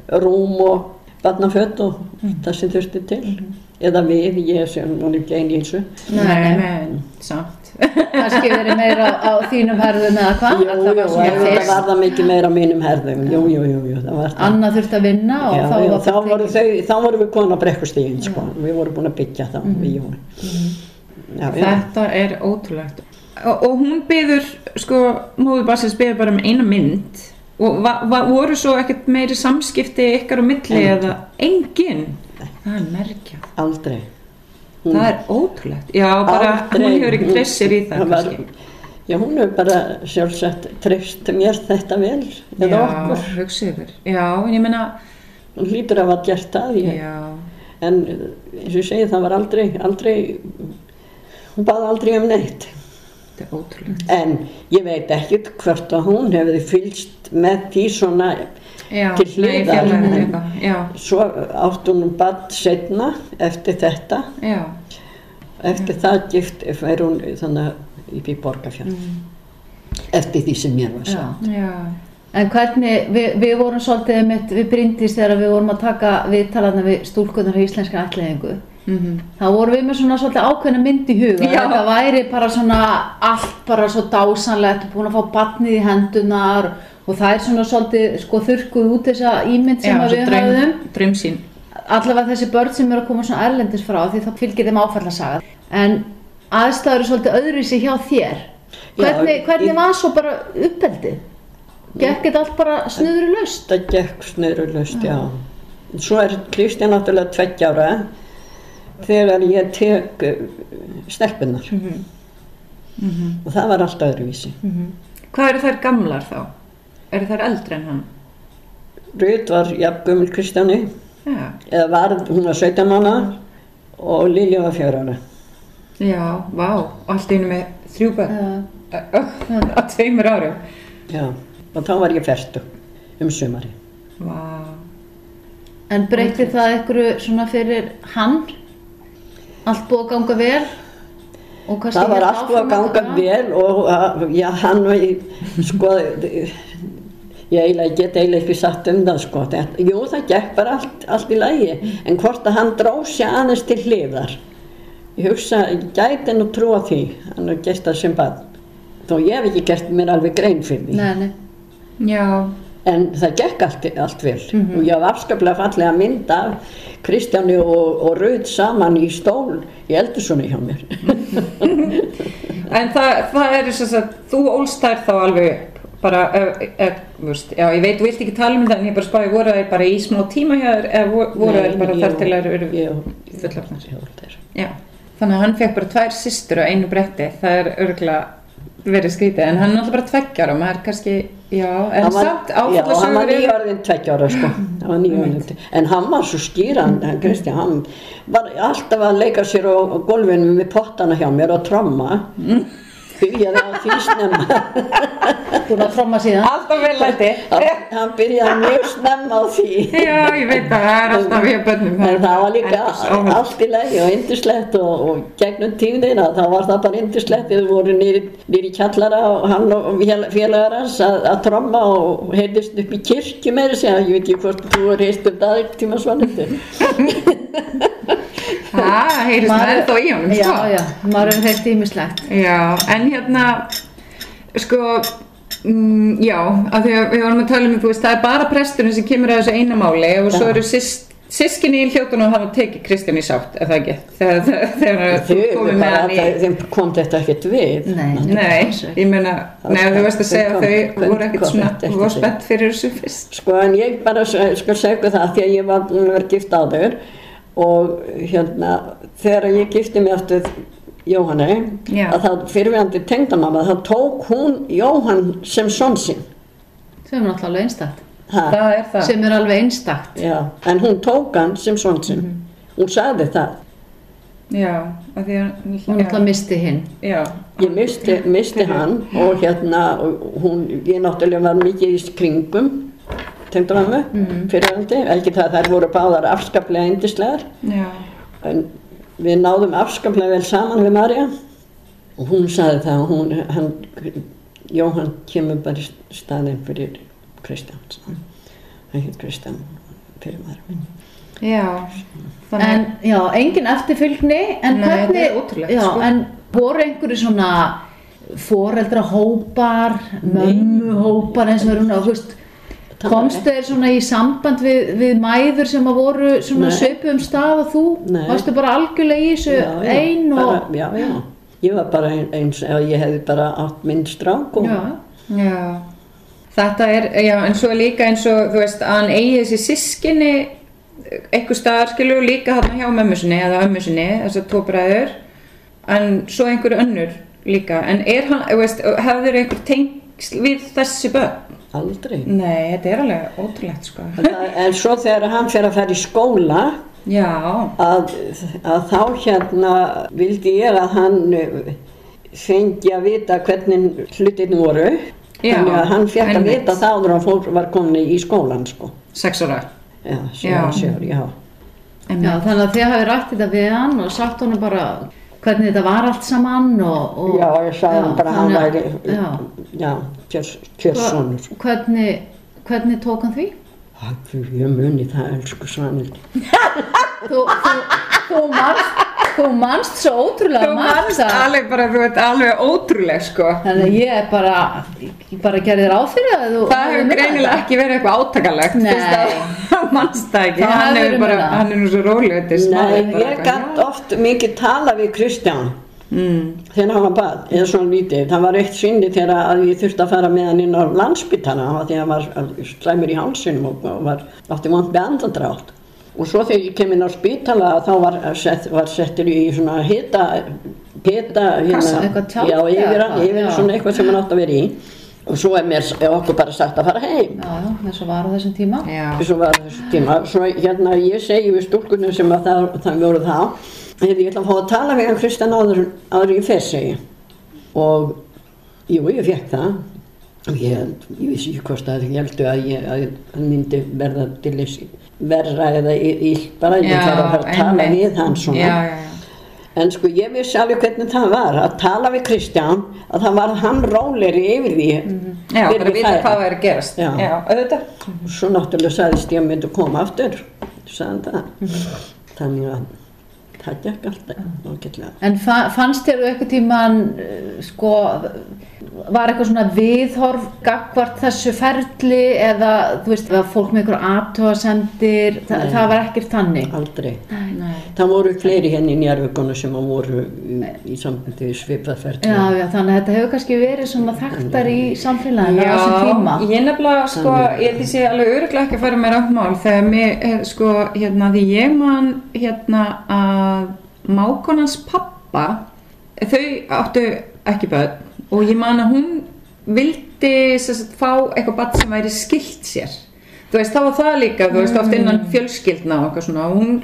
[SPEAKER 3] rúm og barnafött og
[SPEAKER 1] Mm.
[SPEAKER 3] það sem þurfti til. Eða við, ég sem nú ekki einn í þessu.
[SPEAKER 2] Nei, nei, samt.
[SPEAKER 1] kannski verið meira á þínum herðum eða
[SPEAKER 3] Jú,
[SPEAKER 1] hvað
[SPEAKER 3] jú,
[SPEAKER 1] Ah, það var svona
[SPEAKER 3] jú, það
[SPEAKER 1] fyrst
[SPEAKER 3] var það mikið meira á mínum herðum, jú, jú, jú, jú, það var það.
[SPEAKER 1] Anna þurfti að vinna og
[SPEAKER 3] Já,
[SPEAKER 1] þá
[SPEAKER 3] já,
[SPEAKER 1] var
[SPEAKER 3] þá,
[SPEAKER 1] bara
[SPEAKER 3] voru
[SPEAKER 1] tekið.
[SPEAKER 3] þau, þá voru við komin á brekkustíðin sko. við vorum búin að byggja þá
[SPEAKER 2] Mhm.
[SPEAKER 3] við Jón já, já,
[SPEAKER 2] Þetta er ótrúlegt. Og, og hún byður, sko, móður Bassins byður bara um eina mynd og va, va, voru svo ekkert meiri samskipti ykkar á milli
[SPEAKER 3] Engin.
[SPEAKER 2] eða engin. Það er merkja.
[SPEAKER 3] aldrei
[SPEAKER 2] Það er ótrúlegt. Já, bara hún hefur ekki treyst sér í það,
[SPEAKER 3] var,
[SPEAKER 2] kannski.
[SPEAKER 3] já, hún hefur bara sjálfsagt treyst mér þetta vel eða okkur,
[SPEAKER 2] Já, hugsið ykkur. Já, en ég meina,
[SPEAKER 3] hún hlýtur að hafa gert það ég.
[SPEAKER 2] já.
[SPEAKER 3] en eh, eins og ég segi það var aldrei aldrei hún baði aldrei um neitt
[SPEAKER 2] Þetta er ótrúlegt.
[SPEAKER 3] en ég veit ekkert hvort að hún hefði fylgst með því svona
[SPEAKER 2] Já,
[SPEAKER 3] til
[SPEAKER 2] nei,
[SPEAKER 3] hliðar
[SPEAKER 2] fjarlægðin
[SPEAKER 3] en-
[SPEAKER 2] eitthvað. Já,
[SPEAKER 3] Svo átt hún bann setna eftir þetta,
[SPEAKER 2] já.
[SPEAKER 3] eftir það gift fær hún þannig upp í borgarfjörn. Eftir því sem mér var
[SPEAKER 1] Já.
[SPEAKER 3] sagt.
[SPEAKER 2] Já,
[SPEAKER 1] En hvernig, við, við vorum svolítið mitt, við brindist þegar við vorum að taka viðtalarna við stúlkunar á íslenska ætliðingu.
[SPEAKER 2] Mhm.
[SPEAKER 1] Þá vorum við með svona svolítið ákveðna mynd í huga.
[SPEAKER 2] Já.
[SPEAKER 1] Þetta væri bara svona allt bara svo dásanlegt og búin að fá barnið í hendunar og það er svona svolítið sko þurrkuð út þessa ímynd sem
[SPEAKER 2] já,
[SPEAKER 1] að
[SPEAKER 2] svo
[SPEAKER 1] við
[SPEAKER 2] draum-
[SPEAKER 1] höfðum.
[SPEAKER 2] draumsýn.
[SPEAKER 1] Allavega þessi börn sem eru að koma svona erlendis frá því þá fylgir þeim áfallasaga. En aðstæður eru svolítið öðruvísi hjá þér.
[SPEAKER 3] Já,
[SPEAKER 1] Hvernig, hvernig
[SPEAKER 3] ég-
[SPEAKER 1] var svo bara uppeldið? Gekk þetta allt bara snuður laust?
[SPEAKER 3] Það gekk snurulust, já. En Svo er Kristján náttúrulega tveggja ára þegar ég tek uh, stelpunar. Og það var allt öðruvísi.
[SPEAKER 2] Hvað eru þær gamlar þá? Eru þær eldri en hann?
[SPEAKER 3] Rut var jafngumil Kristjáni,
[SPEAKER 2] Já,
[SPEAKER 3] eða var hún var 17 mánu og Lilja var fjögur ára.
[SPEAKER 2] já, vá, og allt í einu með þrjú börn
[SPEAKER 3] Eh,
[SPEAKER 1] Uh,
[SPEAKER 2] á tveimur árum.
[SPEAKER 3] Já. Og þá var ég ferdu um sumari.
[SPEAKER 2] Vá,
[SPEAKER 1] en breytti það einhverju svona fyrir hann? Allt búið að ganga vel? Og kannski
[SPEAKER 3] Það var
[SPEAKER 1] hélt
[SPEAKER 3] allt búið að
[SPEAKER 1] áfram
[SPEAKER 3] ganga
[SPEAKER 1] þetta?
[SPEAKER 3] vel og að, já, hann og ég, sko, ég eiginlega ég get eiginlega ekki sagt um það, sko. Þetta, jú, það gekk bara allt, allt í lagi, en hvort að hann dró sér aðeins til hliðar. Ég hugsa, ég gæti nú trúa því, hann er gert það sem barn. Þó ég hef ekki gert mér alveg grein fyrir því.
[SPEAKER 1] Nei, nei.
[SPEAKER 2] já,
[SPEAKER 3] En það gekk allt, allt vel
[SPEAKER 1] Mhm.
[SPEAKER 3] og ég haf afskaplega fallega mynd af Kristjáni og, og Rauð saman í stól í eldusunni hjá mér.
[SPEAKER 2] en það, það er þess að þú ólst þær þá alveg upp, bara, ef- ef- þú veist, já, ég veit, þú vilt ekki tala um það, en ég bara spáði, voru þær bara í smá tíma hjá þér, eða vo- voru þær bara þar til þær eru fullafnar?
[SPEAKER 3] fullafnar.
[SPEAKER 2] Já, þannig að hann fekk bara tvær systur á einu bretti, það er örgulega verið skrítið, en hann er alltaf bara tveggjar og maður er kannski, já, en
[SPEAKER 3] Hann var-
[SPEAKER 2] samt
[SPEAKER 3] Já, hann var
[SPEAKER 2] áfallasögur eru-
[SPEAKER 3] nýjörðin tveggjára sko, hann var nýjörðin En hann var svo skýran, hann, Kristján, hann var alltaf að leika sér á, á gólfinu með pottana hjá mér og tromma
[SPEAKER 2] Mm.
[SPEAKER 3] Byrjaði á því snemma,
[SPEAKER 1] Búin að tromma síðan.
[SPEAKER 2] alltaf vel læti.
[SPEAKER 3] hann, hann byrjaði mjög snemma á því
[SPEAKER 2] Já, ég veit að það er alltaf við bönnum.
[SPEAKER 3] En það var líka
[SPEAKER 2] Endalaus áhyggjur.
[SPEAKER 3] allt í lagi og indislegt og, og gegnum tíðina þá var það bara indislegt þegar við vorum nýri, nýri kjallara og hann og félagar hans að, að tromma og heyrðist upp í kirkju meira að segja, ég veit ekki hvort þú er heyrst um það eitt tíma svonandi.
[SPEAKER 2] Það heyrist maður ennþá í honum,
[SPEAKER 1] Já,
[SPEAKER 2] sko.
[SPEAKER 1] já, maður hefur heilt ímislegt.
[SPEAKER 2] Já, en hérna, sko, mm, já, af því að við vorum að tala um, þú veist, það er bara presturinn sem kemur að þessu eina máli og svo
[SPEAKER 3] Já.
[SPEAKER 2] eru sýst, sískinni í hljóttunum að hafa tekið Kristján í sátt, er það ekki? Þegar, þegar, þegar
[SPEAKER 3] Þau
[SPEAKER 2] þú
[SPEAKER 3] eru
[SPEAKER 2] komið með
[SPEAKER 3] bara,
[SPEAKER 2] hann í...
[SPEAKER 3] það, þeim kom þetta ekkert við.
[SPEAKER 1] Nei,
[SPEAKER 2] Nei, ég meina, nei, þú veist að segja að þau
[SPEAKER 3] Kom-
[SPEAKER 2] voru ekkert
[SPEAKER 3] kom-
[SPEAKER 2] svona,
[SPEAKER 3] kom-
[SPEAKER 2] þú voru spennt fyrir þessu fyrst.
[SPEAKER 3] Sko en ég bara s- skal segja ykkur það því að ég var búin að vera gift áður og hérna þegar ég gifti mig aftur Jóhanni
[SPEAKER 2] Já.
[SPEAKER 3] að það fyrirvægandi tengdanama þá tók hún Jóhann sem son sinn
[SPEAKER 1] sem er náttúrulega einstakt
[SPEAKER 3] ha,
[SPEAKER 2] það er það
[SPEAKER 1] sem er alveg einstakt
[SPEAKER 3] já, en hún tók hann sem son sinn hún sagði það
[SPEAKER 2] já, að því að
[SPEAKER 1] hún náttúrulega misti hinn
[SPEAKER 2] já,
[SPEAKER 3] ég misti, misti hann og hérna og hún, ég náttúrulega var mikið í kringum tengdanama mm. fyrirvægandi, ekki það að þær voru báðar afskaplega indislegar
[SPEAKER 2] já,
[SPEAKER 3] En við náðum afskaplega vel saman við Marja og hún sagði það að hún, hann, Jóhann kemur bara í staðinn fyrir Kristján, sagði hún. hann hétt Kristján fyrir maður minn.
[SPEAKER 2] já þannig
[SPEAKER 1] en já, engin eftirfylgni en
[SPEAKER 2] Nei,
[SPEAKER 1] hvernig,
[SPEAKER 2] þetta er ótrúlegt,
[SPEAKER 1] já,
[SPEAKER 2] sko.
[SPEAKER 1] en voru einhverju svona foreldrahópar mömmuhópar eins og verður hún að veist,
[SPEAKER 3] Það var
[SPEAKER 1] komstu þér svona í samband við, við mæður sem að voru svona
[SPEAKER 3] Nei.
[SPEAKER 1] söpum stað og þú
[SPEAKER 3] Nei.
[SPEAKER 1] varstu bara algjörlega í þessu ein og
[SPEAKER 3] bara, já, já. Ég var bara ein- eins, eða ég hefði bara átt minn strák og
[SPEAKER 1] já,
[SPEAKER 2] Já, þetta er, já, en svo líka eins og, þú veist, að hann eigi þessi sískinni eitthvað staðar, skilur, líka hann hjá mömmu sinni eða ömmu sinni, þessar tvo bræður, en svo einhver önnur líka, en er hann, þú veist, hefur einhver tengsl við þessi börn?
[SPEAKER 3] aldrei.
[SPEAKER 2] Nei, þetta er alveg ótrúlegt, sko.
[SPEAKER 3] En, það, en svo þegar hann fer að fara í skóla
[SPEAKER 2] Já,
[SPEAKER 3] að, að þá hérna vildi ég að hann eh, fengi að vita hvernig hlutin voru
[SPEAKER 2] Já,
[SPEAKER 3] þannig að hann fekk að
[SPEAKER 2] einmitt.
[SPEAKER 3] vita það áður að fólk var komin í skólan sko
[SPEAKER 2] sex ára.
[SPEAKER 3] já, sjá,
[SPEAKER 2] Já.
[SPEAKER 3] sjá, já.
[SPEAKER 1] já, þannig að þið hafi rætt þetta við hann og sagt honum bara hvernig þetta var allt saman og, og
[SPEAKER 3] já, ég sagði hann bara að hann væri
[SPEAKER 1] þannig að- já.
[SPEAKER 3] já, kjörsonur
[SPEAKER 1] Hva- hvernig, hvernig tók hann því?
[SPEAKER 3] Takk fyrir ég muni það, elsku Svanhild.
[SPEAKER 1] þú, þú, þú manst þú manst svo ótrúlega
[SPEAKER 2] Þú
[SPEAKER 1] margt
[SPEAKER 2] manst
[SPEAKER 1] það.
[SPEAKER 2] alveg bara, þú veit, alveg ótrúleg, sko.
[SPEAKER 1] þannig að ég er bara ég bara gerði þér áfyrir að þú
[SPEAKER 2] Það hefur
[SPEAKER 1] munað
[SPEAKER 2] greinilega
[SPEAKER 1] þetta.
[SPEAKER 2] ekki verið eitthvað átakalegt
[SPEAKER 1] Nei.
[SPEAKER 2] fyrst að hann mannst það ekki
[SPEAKER 1] Það
[SPEAKER 2] hann
[SPEAKER 1] hefur
[SPEAKER 2] er,
[SPEAKER 1] verið
[SPEAKER 2] bara,
[SPEAKER 1] munað.
[SPEAKER 2] hann er nú svo róleg þetta er smá
[SPEAKER 3] Nei,
[SPEAKER 2] bara
[SPEAKER 3] ég
[SPEAKER 2] eitthvað,
[SPEAKER 3] gætt oft mikið tala við Kristján
[SPEAKER 2] mm.
[SPEAKER 3] þegar hann var barn, eða svona lítið, það var eitt sinni þegar að ég þurfti að fara með hann inn á landsbytana því að hann var slæmur í hálsinum og, og var, átti vant með andandrátt og svo þegar ég kem inn á spítala þá var, set, var settur í svona hita, peta
[SPEAKER 1] Kassa, eitthvað tjald
[SPEAKER 3] já,
[SPEAKER 1] eða
[SPEAKER 3] yfir,
[SPEAKER 1] eitthvað,
[SPEAKER 3] yfir
[SPEAKER 1] já.
[SPEAKER 3] svona eitthvað sem hann átti að vera í og svo er mér er okkur bara sagt að fara heim
[SPEAKER 1] já, já, eins og var á þessum tíma
[SPEAKER 2] Já.
[SPEAKER 3] svo var þessu tíma, svo hérna ég segi við stúlkunum sem að það, það voru þá hefði ég ætla að fá að tala við hann Kristján áður, áður en ég fer segi ég. og jú, ég fekk það Og ég, ég vissi ekki hvort að ég heldur að ég að hann myndi verða til þess verra eða illt bara ég
[SPEAKER 2] Já,
[SPEAKER 3] þarf að fara að tala
[SPEAKER 2] einmitt.
[SPEAKER 3] við hann svona
[SPEAKER 2] já, já, já.
[SPEAKER 3] En sko ég vissi alveg hvernig það var að tala við Kristján að það var hann róleri yfir því
[SPEAKER 2] Mhm. já
[SPEAKER 3] fyrir
[SPEAKER 2] bara
[SPEAKER 3] við
[SPEAKER 2] vita
[SPEAKER 3] þær.
[SPEAKER 2] hvað væri að gerast
[SPEAKER 3] Já.
[SPEAKER 2] auðvitað
[SPEAKER 3] Svo náttúrulega sagðist ég að myndi koma aftur, sagði hann það. Þannig að það gekk alltaf ágætlega.
[SPEAKER 1] en fa fannst þér eitthvað tíman eh, sko var eitthvað svona viðhorf gagvart þessu ferli eða þú veist, var fólk með eitthvað aðtóasendir Þa,
[SPEAKER 3] Nei.
[SPEAKER 1] það var ekkert þannig
[SPEAKER 3] Aldrei.
[SPEAKER 2] Nei.
[SPEAKER 3] Það voru fleiri henni í njárvökunum sem að voru í, í sambandi við
[SPEAKER 1] Já,
[SPEAKER 3] svipaðferðina.
[SPEAKER 1] já, þannig að þetta hefur kannski verið svona þekktar í samfélaginu á þessum tíma.
[SPEAKER 2] Já, ég nefnilega sko, ég því sé alveg öruglega ekki að fara mér átt mál þegar mér, eh, sko, hérna, því ég man, hérna, að mákonans pappa, þau áttu ekki börn og ég man að hún vildi sem sagt, fá eitthvað barn sem væri skilt sér. Þú veist, þá var það líka, þú veist, oft innan fjölskyldna og eitthvað svona og hún,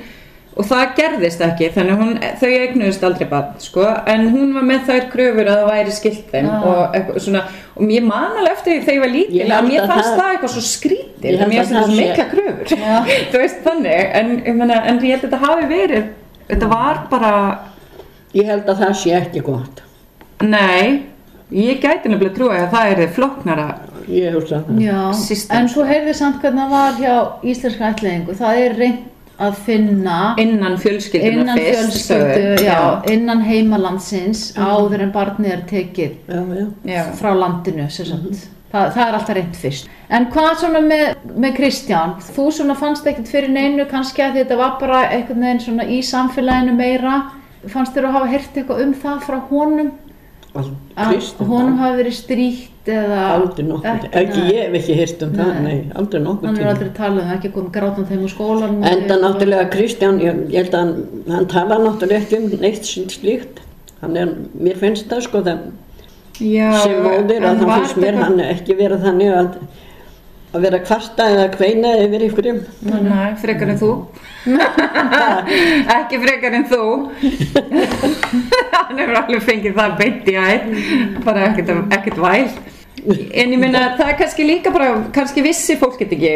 [SPEAKER 2] og það gerðist ekki, þannig að hún, þau eignuðist aldrei barn, sko, en hún var með þær kröfur að það væri skilt þeim
[SPEAKER 1] Ah.
[SPEAKER 2] og eitthvað svona, og ég man alveg eftir því þegar ég var lítil
[SPEAKER 3] Ég held
[SPEAKER 2] að mér
[SPEAKER 3] að
[SPEAKER 2] fannst
[SPEAKER 3] það-
[SPEAKER 2] það, eitthvað svo skrítið
[SPEAKER 3] Ég
[SPEAKER 2] að
[SPEAKER 3] held
[SPEAKER 2] mér
[SPEAKER 3] að
[SPEAKER 2] fannst það
[SPEAKER 3] það
[SPEAKER 2] svo
[SPEAKER 3] sé-
[SPEAKER 2] mikla kröfur þú veist þannig, en ég, meina, en ég held að þetta hafi verið þetta var bara,
[SPEAKER 3] Ég held að það sé ekki gott.
[SPEAKER 2] nei ég gæti nefnilega trúið að það er þið floknara
[SPEAKER 3] Ég hugsa það.
[SPEAKER 1] Já,
[SPEAKER 2] System,
[SPEAKER 1] en svo heyrði samt hvernig það var hjá íslenska ætlingu. Það er reynd að finna
[SPEAKER 2] innan fjölskylduna
[SPEAKER 1] innan
[SPEAKER 2] fyrst
[SPEAKER 1] fjölskyldu,
[SPEAKER 2] sögðu.
[SPEAKER 1] já, innan heimalandsins áður en barnið er tekið
[SPEAKER 3] Já, já.
[SPEAKER 2] já.
[SPEAKER 1] frá landinu, sem sagt. Það, það er alltaf reynd fyrst. En hvað svona með, með Kristján? Þú svona fannst ekkert fyrir neinu kannski að þetta var bara einhvern veginn svona í samfélaginu meira. Fannst þér að hafa heyrt eitthvað um það frá honum? að
[SPEAKER 3] Kristinn
[SPEAKER 1] honum hafi verið stríkt eða
[SPEAKER 3] aldrei nokkur, ekki
[SPEAKER 1] nei.
[SPEAKER 3] ég hef ekki hýrt um það,
[SPEAKER 1] Nei.
[SPEAKER 3] nei, aldrei nokkur
[SPEAKER 1] hann er aldrei talað um það, ekki komið grátan þeim úr skólanum hérna.
[SPEAKER 3] Enda náttúrulega Kristján, ég, ég held að hann, hann tala náttúrulega ekki um neitt sínt slíkt, hann er, mér finnst það sko það
[SPEAKER 2] Já,
[SPEAKER 3] sem móðir
[SPEAKER 2] en
[SPEAKER 3] að það
[SPEAKER 2] var
[SPEAKER 3] finnst mér
[SPEAKER 2] þetta-
[SPEAKER 3] hann ekki vera þannig að, að vera kvarta eða kveina yfir ykkurum.
[SPEAKER 2] Nei, frekar en þú Ekki frekar en þú Hann hefur alveg fengið það beint í æð bara ekkert, ekkert væl En ég meina það er kannski líka bara kannski vissi fólk get ekki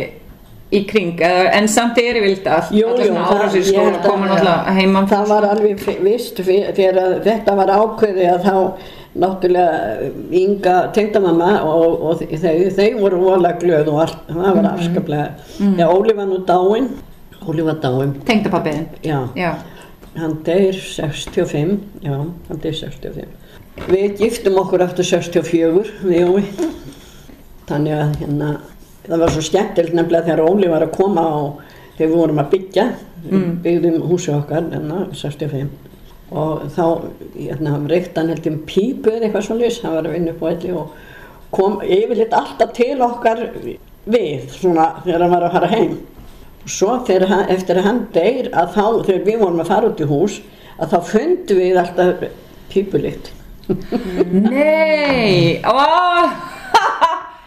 [SPEAKER 2] í kring eh, en samt er ég vild að
[SPEAKER 3] Jú, jú, það-
[SPEAKER 2] árásir í
[SPEAKER 3] ég held
[SPEAKER 2] skóla
[SPEAKER 3] að-
[SPEAKER 2] sko, koma náttúrulega heimann
[SPEAKER 3] Það var alveg f- vist fyr- fyrir að þetta var ákveðið að þá náttúrulega ynga tengdamamma og, og þau, þau voru vola glöð og allt, það var
[SPEAKER 2] Mhm.
[SPEAKER 3] afskaplega. Já, Óli var nú dáinn, Óli var dáinn,
[SPEAKER 2] tengdapappiðin
[SPEAKER 3] já,
[SPEAKER 2] Já,
[SPEAKER 3] hann deyr 65, já, hann deyr 65. Við giftum okkur aftur 64, við Jói, þannig að hérna, það var svo skemmtilegt nefnilega þegar Óli var að koma og þegar við vorum að byggja, mm. byggðum húsið okkar, hérna, 65. Og þá, hérna, reykti hann held ég um pípu eða eitthvað svona hann var að vinna upp á elli og kom yfirleitt alltaf til okkar við, svona, þegar hann var að fara heim. Svo þegar, hann- eftir að hann deyr að þá, þegar við vorum að fara út í hús, að þá fundum við alltaf pípulitt.
[SPEAKER 2] Nei oh.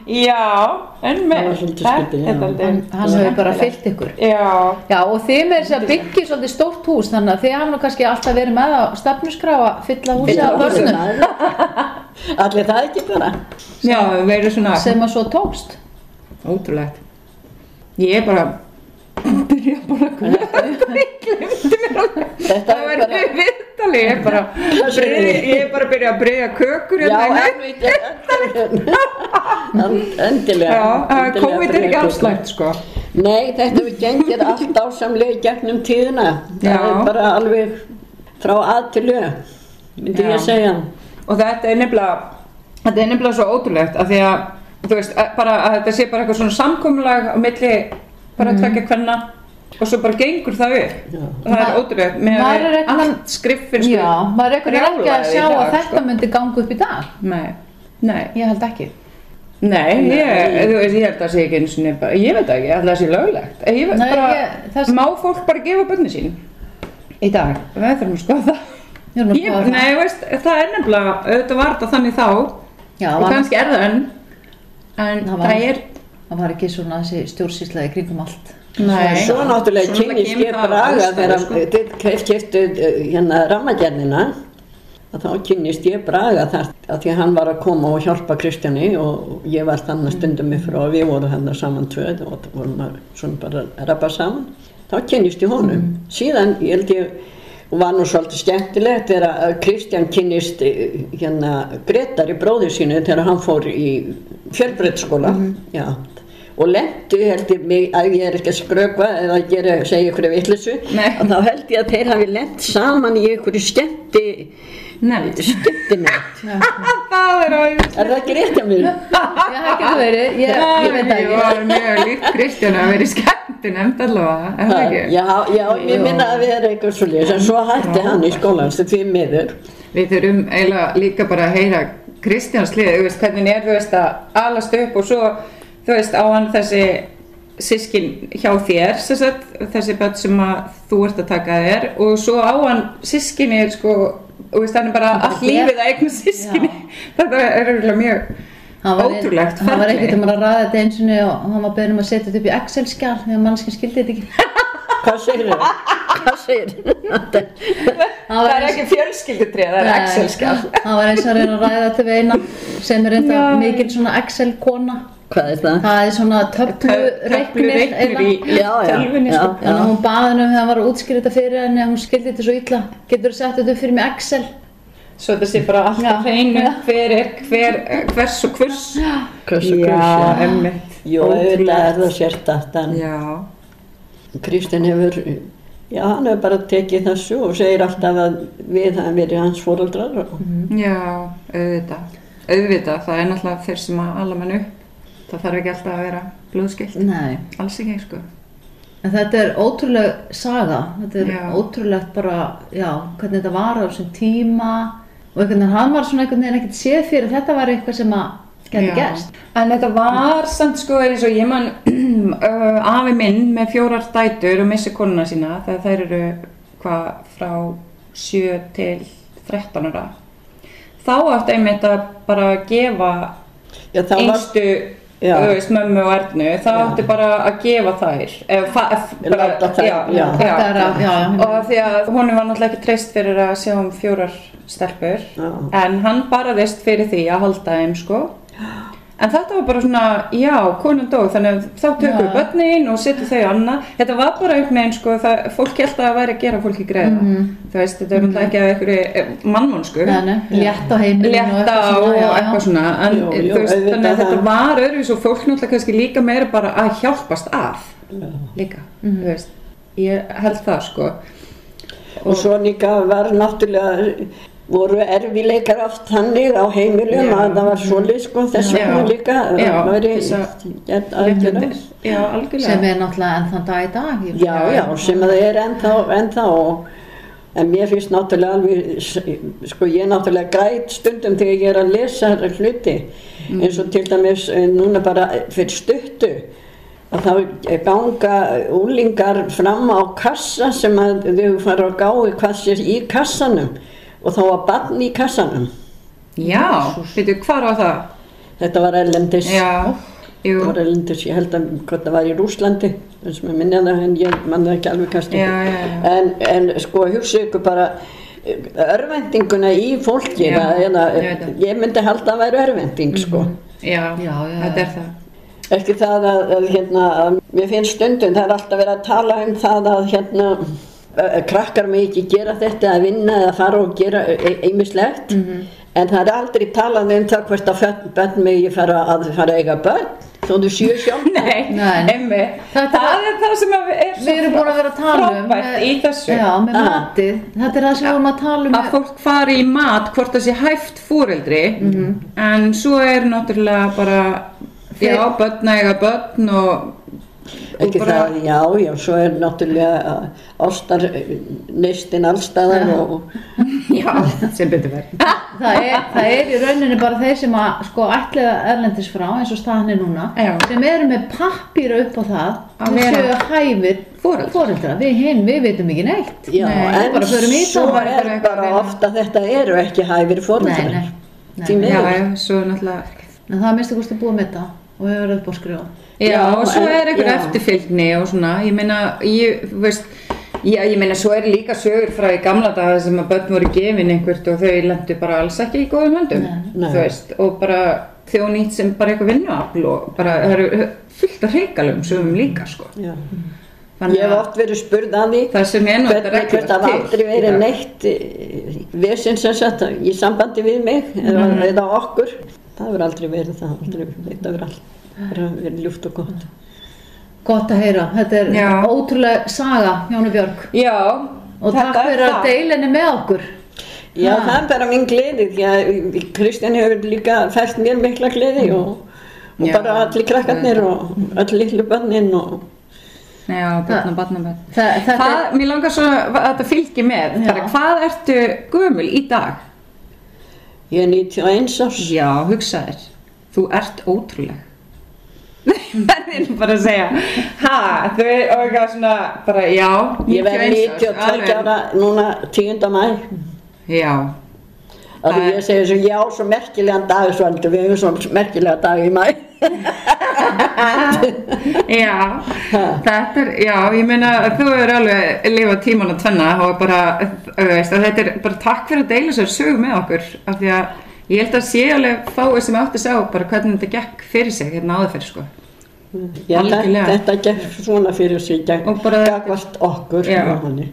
[SPEAKER 2] Já En
[SPEAKER 3] Það var svolítið skrítið, já.
[SPEAKER 1] hann, hann hefur bara fyllt ykkur
[SPEAKER 2] Já
[SPEAKER 1] Já og þið með þess að byggja svolítið stórt hús þannig að þið hafa nú kannski alltaf verið með á stefnuskrá að fylla húsið af börnum
[SPEAKER 3] Allir það ekki bara.
[SPEAKER 2] Já, við erum svona
[SPEAKER 1] sem að svo tókst
[SPEAKER 2] Ótrúlegt. Ég er bara byrja bara að guða
[SPEAKER 3] Þetta
[SPEAKER 2] það
[SPEAKER 3] er
[SPEAKER 2] verður
[SPEAKER 3] bara,
[SPEAKER 2] viðtali ég er bara
[SPEAKER 3] sé ég.
[SPEAKER 2] ég er bara að byrja að breyja kökur
[SPEAKER 3] já,
[SPEAKER 2] hérna.
[SPEAKER 3] alveg, en- endilega.
[SPEAKER 2] já, það
[SPEAKER 3] endilega
[SPEAKER 2] COVID er ekki
[SPEAKER 3] breytir.
[SPEAKER 2] afslægt sko
[SPEAKER 3] Nei, þetta við gengir allt ásamlega í gegnum tíðina.
[SPEAKER 2] Já.
[SPEAKER 3] Það er bara alveg frá að til lög, myndi
[SPEAKER 2] Já.
[SPEAKER 3] ég segja.
[SPEAKER 2] og þetta er nefnilega þetta er nefnilega svo ótrúlegt að því að þú veist, að- bara að þetta sé bara eitthvað svona samkomulag á milli bara mm. tvekja hvenna og svo bara gengur það upp
[SPEAKER 3] Mhm. Já.
[SPEAKER 2] það er
[SPEAKER 1] Ma-
[SPEAKER 2] ótrúlegt með
[SPEAKER 1] maður
[SPEAKER 2] að
[SPEAKER 1] er ekki-
[SPEAKER 2] allt skriffin
[SPEAKER 1] Já, maður er ekkert ekki að sjá að þetta
[SPEAKER 2] sko.
[SPEAKER 1] myndi ganga upp í dag
[SPEAKER 2] nei, nei
[SPEAKER 1] Ég held ekki
[SPEAKER 2] Nei,
[SPEAKER 3] Nei.
[SPEAKER 2] Ég, þú veist, ég held að það sé ekki eins og bara, ég veit það ekki, ég held að það sé löglegt. Ég, veit
[SPEAKER 1] Nei,
[SPEAKER 2] bara,
[SPEAKER 1] ég- það sé-
[SPEAKER 2] Má fólk bara gefa bönni sín í dag? Við þurfum að skoða það.
[SPEAKER 1] Við erum að
[SPEAKER 2] Ég,
[SPEAKER 1] skoða það.
[SPEAKER 2] nei, veist, það er nefnilega, auðvitað var þetta þannig þá
[SPEAKER 1] Já,
[SPEAKER 2] og
[SPEAKER 1] var-
[SPEAKER 2] kannski er það enn, en
[SPEAKER 1] Það
[SPEAKER 2] það,
[SPEAKER 1] var-
[SPEAKER 2] er,
[SPEAKER 1] Það var ekki svona þessi stjórnsýsla í kringum allt
[SPEAKER 2] nei,
[SPEAKER 3] Svo
[SPEAKER 2] Svo
[SPEAKER 3] náttúrulega
[SPEAKER 2] náttúrulega
[SPEAKER 3] kynni
[SPEAKER 2] kemur
[SPEAKER 3] skip
[SPEAKER 2] það
[SPEAKER 3] Braga
[SPEAKER 2] alls
[SPEAKER 3] þegar
[SPEAKER 2] staðar, sko.
[SPEAKER 3] þeir keypt- keyptu eh, hérna rammagerðina að þá kynnist ég Braga þar að því að hann var að koma og hjálpa Kristjáni og ég var þannig stundum upp frá og við vorum hérna saman tvöð og vorum að- svona bara að rappa saman þá kynnist ég honum síðan ég held ég og var nú svolítið skemmtilegt þegar að Kristján kynnist eh, hérna Gretari bróðir sínu þegar hann fór í fjölbreytskóla já og lendu held ég mig að ég er ekki að skrökva eða gera, segja ykkur vittlisu
[SPEAKER 2] Nei.
[SPEAKER 3] að þá held ég að þeir hafi lent saman í ykkur skemmti
[SPEAKER 2] nefnt.
[SPEAKER 3] skemmtinett
[SPEAKER 2] það er að,
[SPEAKER 3] er það ekki rétt hjá mér?
[SPEAKER 1] Já, það getur verið, ég, ég veit það
[SPEAKER 2] ég
[SPEAKER 1] ekki
[SPEAKER 2] var mjög líkt Kristján að vera í skemmti nefnd allavega, er það ekki?
[SPEAKER 3] já, já,
[SPEAKER 1] Jú.
[SPEAKER 3] ég minna að við erum eitthvað svo en svo hætti hann í skólan sem því miður
[SPEAKER 2] Við þurfum eiginlega líka bara að heyra Kristjáns lið, þú veist, hvernig er þú veist að alast upp og svo þú veist á hann þessi sískin hjá þér, sem sagt, þessi börn sem að þú ert að taka þér og svo á hann sískinni sko, þú veist, hann er bara allt
[SPEAKER 1] hér.
[SPEAKER 2] lífið að eigna sískinni þetta er auðvitað mjög
[SPEAKER 1] Hann var-
[SPEAKER 2] ótrúlegt
[SPEAKER 1] Hann var
[SPEAKER 2] ferli.
[SPEAKER 1] ekkert um að ræða þetta eins og hann var beðin um að setja þetta upp í Excel-skjál því að mannskinn skildi þetta ekki
[SPEAKER 3] hvað segir þau? hvað segir þau?
[SPEAKER 1] Hann
[SPEAKER 2] það
[SPEAKER 1] var
[SPEAKER 2] er
[SPEAKER 1] eins-
[SPEAKER 2] ekki fjölskyldutrið, það er Excel-skjál
[SPEAKER 1] Hann var eins og að reyna að ræða þetta við eina sem er reynda
[SPEAKER 2] Já.
[SPEAKER 1] mikil svona Excel-kona
[SPEAKER 3] hvað er það?
[SPEAKER 1] Það er svona
[SPEAKER 2] töflu
[SPEAKER 1] töflureiknir
[SPEAKER 2] reiknir í
[SPEAKER 1] eiginlega.
[SPEAKER 3] Já, já,
[SPEAKER 2] tölvunni
[SPEAKER 3] já.
[SPEAKER 2] sko.
[SPEAKER 1] Þannig að hún baði henni um þegar hann var að útskýra þetta fyrir henni að hún skildi þetta svo illa Getur þú sett þetta upp fyrir mig Excel?
[SPEAKER 2] svo þetta sé bara alltaf
[SPEAKER 1] Já.
[SPEAKER 2] hreinu hver er hver, hvers og hvers
[SPEAKER 3] hvers og hvers já.
[SPEAKER 2] emmitt
[SPEAKER 3] jú, auðvitað er það sérstætt en
[SPEAKER 2] Já,
[SPEAKER 3] Kristinn hefur, já hann hefur bara tekið þessu og segir alltaf að við hafum verið hans fóröldrar og
[SPEAKER 2] já, auðvitað. Auðvitað, það er náttúrulega þeir sem að alla mann upp. Það þarf ekki alltaf að vera blóðskilt.
[SPEAKER 1] Nei
[SPEAKER 2] Alls ekki, sko.
[SPEAKER 1] En þetta er ótrúleg saga, þetta er
[SPEAKER 2] Já.
[SPEAKER 1] ótrúlegt bara, já, hvernig þetta var á þessum tíma, og einhvern veginn hafði maður svona einhvern veginn ekkert séð fyrir að þetta var eitthvað sem að geti
[SPEAKER 2] Já.
[SPEAKER 1] gerst
[SPEAKER 2] En þetta var samt sko eins og ég man uh, afi minn með fjórar dætur og missi konuna sína þegar þær eru hvað frá 7 til 13 ára þá átti einmitt að bara gefa
[SPEAKER 3] Já, þá var-
[SPEAKER 2] einstu
[SPEAKER 3] Já.
[SPEAKER 2] þú veist, mömmu og ernu þá átti bara að gefa þær ef, fa- ef, bara,
[SPEAKER 3] Láta þær- já.
[SPEAKER 1] Þetta er að- já, já.
[SPEAKER 2] og af því að honum var náttúrulega ekki treyst fyrir að sjá um fjórar stelpur
[SPEAKER 3] Já.
[SPEAKER 2] en hann barðist fyrir því að halda þeim sko en þetta var bara svona, já, konun dó þannig að þá tökum við börnin og setjum þau annað þetta var bara einhvern veginn sko það, fólk held að það væri að gera fólki greiða
[SPEAKER 3] Mhm.
[SPEAKER 2] þú veist, þetta er náttúrulega ekki að einhverju eh, mannmónsku
[SPEAKER 1] Nei, nei, létt á heimilinu og
[SPEAKER 2] létta
[SPEAKER 1] eitthvað
[SPEAKER 2] á og
[SPEAKER 1] svona, já, já.
[SPEAKER 2] eitthvað svona en
[SPEAKER 3] Jú, jú,
[SPEAKER 2] þú veist,
[SPEAKER 3] auðvitað
[SPEAKER 2] þannig að þetta
[SPEAKER 3] það.
[SPEAKER 2] var öðru svo fólk náttúrulega kannski líka meira bara að hjálpast að líka,
[SPEAKER 1] Mhm.
[SPEAKER 2] þú veist ég held það sko
[SPEAKER 3] og svo líka var náttúrulega voru erfileikar oft þannig á heimilum
[SPEAKER 2] Já.
[SPEAKER 3] að það var svolítið sko þess vegna
[SPEAKER 2] Já. Já.
[SPEAKER 3] líka það væri
[SPEAKER 2] Þessa-
[SPEAKER 3] gert aðgerða
[SPEAKER 2] já, algjörlega
[SPEAKER 1] sem er náttúrulega enn þann dag í dag ég-
[SPEAKER 3] já, já, sem það er ennþá, ennþá og, en mér finnst náttúrulega alveg sko ég náttúrulega græt stundum þegar ég er að lesa þetta hluti eins og til dæmis eh, núna bara fyrir stuttu að þá eh, ganga úlingar fram á kassa sem að þau fara að gái hvað sé í kassanum og þá var barn í kassanum
[SPEAKER 2] Já, veitu, hvar var það?
[SPEAKER 3] þetta var erlendis
[SPEAKER 2] Já,
[SPEAKER 3] Þetta
[SPEAKER 2] jú,
[SPEAKER 3] var erlendis, ég held að hvort það var í Rúslandi eins og mér minna það en ég mann það ekki alveg kannski
[SPEAKER 2] Já, já, já.
[SPEAKER 3] En, en sko hugsa ykkur bara eh, örvendinguna í fólki
[SPEAKER 2] Já,
[SPEAKER 3] það, eða,
[SPEAKER 2] ég veit það. Mhm.
[SPEAKER 3] ég myndi halda að það væri örvending sko
[SPEAKER 2] já,
[SPEAKER 1] Já, já,
[SPEAKER 2] þetta
[SPEAKER 1] já.
[SPEAKER 2] er það
[SPEAKER 3] ekki það að, að hérna að mér finnst stundum það er alltaf verið að tala um það að hérna eh, krakkar mig ekki gera þetta að vinna eða fara og gera einmislegt
[SPEAKER 2] Mhm.
[SPEAKER 3] en það er aldrei talað um það hvort að föt- börn mig ég fara að fara að eiga börn þó þú séu sjálf
[SPEAKER 2] Nei,
[SPEAKER 1] Nei.
[SPEAKER 2] emmi,
[SPEAKER 1] Þetta
[SPEAKER 2] það
[SPEAKER 1] var-
[SPEAKER 2] er það sem að við er
[SPEAKER 1] við erum búin að vera að tala um
[SPEAKER 2] frábært í þessu
[SPEAKER 1] já, með
[SPEAKER 3] Ah.
[SPEAKER 1] matið, þetta er það sem við erum að tala um
[SPEAKER 2] að fólk fari í mat hvort það sé hæft fóreldri
[SPEAKER 3] Mhm.
[SPEAKER 2] en svo er náttúrulega bara já, börn að eiga börn og, og
[SPEAKER 3] ekki það, já, já, svo er náttúrulega uh, ástar neistinn allstaðar og
[SPEAKER 2] já, sem betur verð
[SPEAKER 1] það er, það er í rauninni bara þeir sem að sko ætliða erlendis frá eins og staðan er núna
[SPEAKER 2] Já.
[SPEAKER 1] sem eru með pappýra upp á það
[SPEAKER 2] Að
[SPEAKER 1] að
[SPEAKER 2] vera
[SPEAKER 1] séu hæfir
[SPEAKER 2] foreldrar.
[SPEAKER 1] foreldra við hinn, við veitum ekki neitt
[SPEAKER 3] já,
[SPEAKER 2] Nei,
[SPEAKER 3] en
[SPEAKER 1] bara förum í þetta
[SPEAKER 3] svo
[SPEAKER 1] og
[SPEAKER 2] bara
[SPEAKER 3] er
[SPEAKER 2] eitthvað
[SPEAKER 3] bara
[SPEAKER 2] reyna.
[SPEAKER 3] ofta þetta eru ekki hæfir
[SPEAKER 1] nei, nei,
[SPEAKER 3] fórhundar
[SPEAKER 1] nei.
[SPEAKER 3] Því
[SPEAKER 2] Já,
[SPEAKER 3] miður.
[SPEAKER 2] já, svo náttúrulega
[SPEAKER 1] en það er minnstu kosti búið með þetta og hefur verið upp á skrifa
[SPEAKER 2] Já,
[SPEAKER 3] Já,
[SPEAKER 2] og svo
[SPEAKER 3] en-
[SPEAKER 2] er einhver
[SPEAKER 3] já.
[SPEAKER 2] eftirfylgni og svona, ég meina, ég, þú veist, já, ég meina, svo er líka sögur frá í gamla daga sem að börn voru gefin einhvert og þau lendu bara alls ekki í góðum höndum,
[SPEAKER 3] Nei.
[SPEAKER 2] þú veist, og bara þjónýtt sem bara eitthvað vinnuafl og bara, það eru fullt af hreikalum sögum líka, sko.
[SPEAKER 3] Já.
[SPEAKER 2] Þannig
[SPEAKER 3] Ég hef
[SPEAKER 2] að-
[SPEAKER 3] oft verið spurð að því
[SPEAKER 2] Það sem er nú þetta
[SPEAKER 3] hvernig
[SPEAKER 2] reglur
[SPEAKER 3] hvort það var
[SPEAKER 2] til.
[SPEAKER 3] aldrei verið
[SPEAKER 2] Já.
[SPEAKER 3] neitt eh, vesen sem sagt í sambandi við mig eða,
[SPEAKER 2] Mhm.
[SPEAKER 3] eða okkur. Það hefur aldrei verið það, aldrei, þetta hefur alltaf verið ljúft og gott.
[SPEAKER 1] gott að heyra, þetta er
[SPEAKER 2] Já.
[SPEAKER 1] ótrúlega saga Jónu Björg
[SPEAKER 2] Já,
[SPEAKER 1] og takk
[SPEAKER 2] þetta er
[SPEAKER 1] fyrir að
[SPEAKER 2] það.
[SPEAKER 1] deila henni með okkur
[SPEAKER 3] Já, það er bara mín gleði því að Kristján hefur líka fært mér mikla gleði og, og
[SPEAKER 2] Mm. Já. Mm.
[SPEAKER 3] bara allir krakkarnir og öll litlu bönnin og
[SPEAKER 2] Já, börn og barnabörn.
[SPEAKER 1] það, þetta
[SPEAKER 2] Hvað, mér langar svo að þetta fylgi með,
[SPEAKER 1] Já.
[SPEAKER 2] bara hvað ertu gömul í dag?
[SPEAKER 3] ég er 91 árs.
[SPEAKER 2] Já, hugsa þér, þú ert ótrúleg. Verðin bara að segja, ha, þú er og eitthvað svona, bara já,
[SPEAKER 3] Ég verði
[SPEAKER 2] 91 árs,
[SPEAKER 3] 92
[SPEAKER 2] alveg.
[SPEAKER 3] ára núna 10. mæg.
[SPEAKER 2] Já,
[SPEAKER 3] Það
[SPEAKER 2] Það
[SPEAKER 3] er
[SPEAKER 2] er-
[SPEAKER 3] ég segi þessu, já, svo merkilegan dag, Svandur, við hefum svo merkilega dag í mæ.
[SPEAKER 2] já, þetta er, já, ég meina að þú er alveg lifa tíman að tvenna og bara, þú veist, að þetta er bara takk fyrir að deila sér sög með okkur, af því að ég held að sé alveg fáið sem átti að segja bara hvernig þetta gekk fyrir sig, hérna áður fyrir, sko.
[SPEAKER 3] Já, þetta,
[SPEAKER 2] Algjörlega.
[SPEAKER 3] þetta gekk svona fyrir sig, gegn,
[SPEAKER 2] Og bara-
[SPEAKER 3] gagvast okkur.
[SPEAKER 2] Já.
[SPEAKER 3] og manni.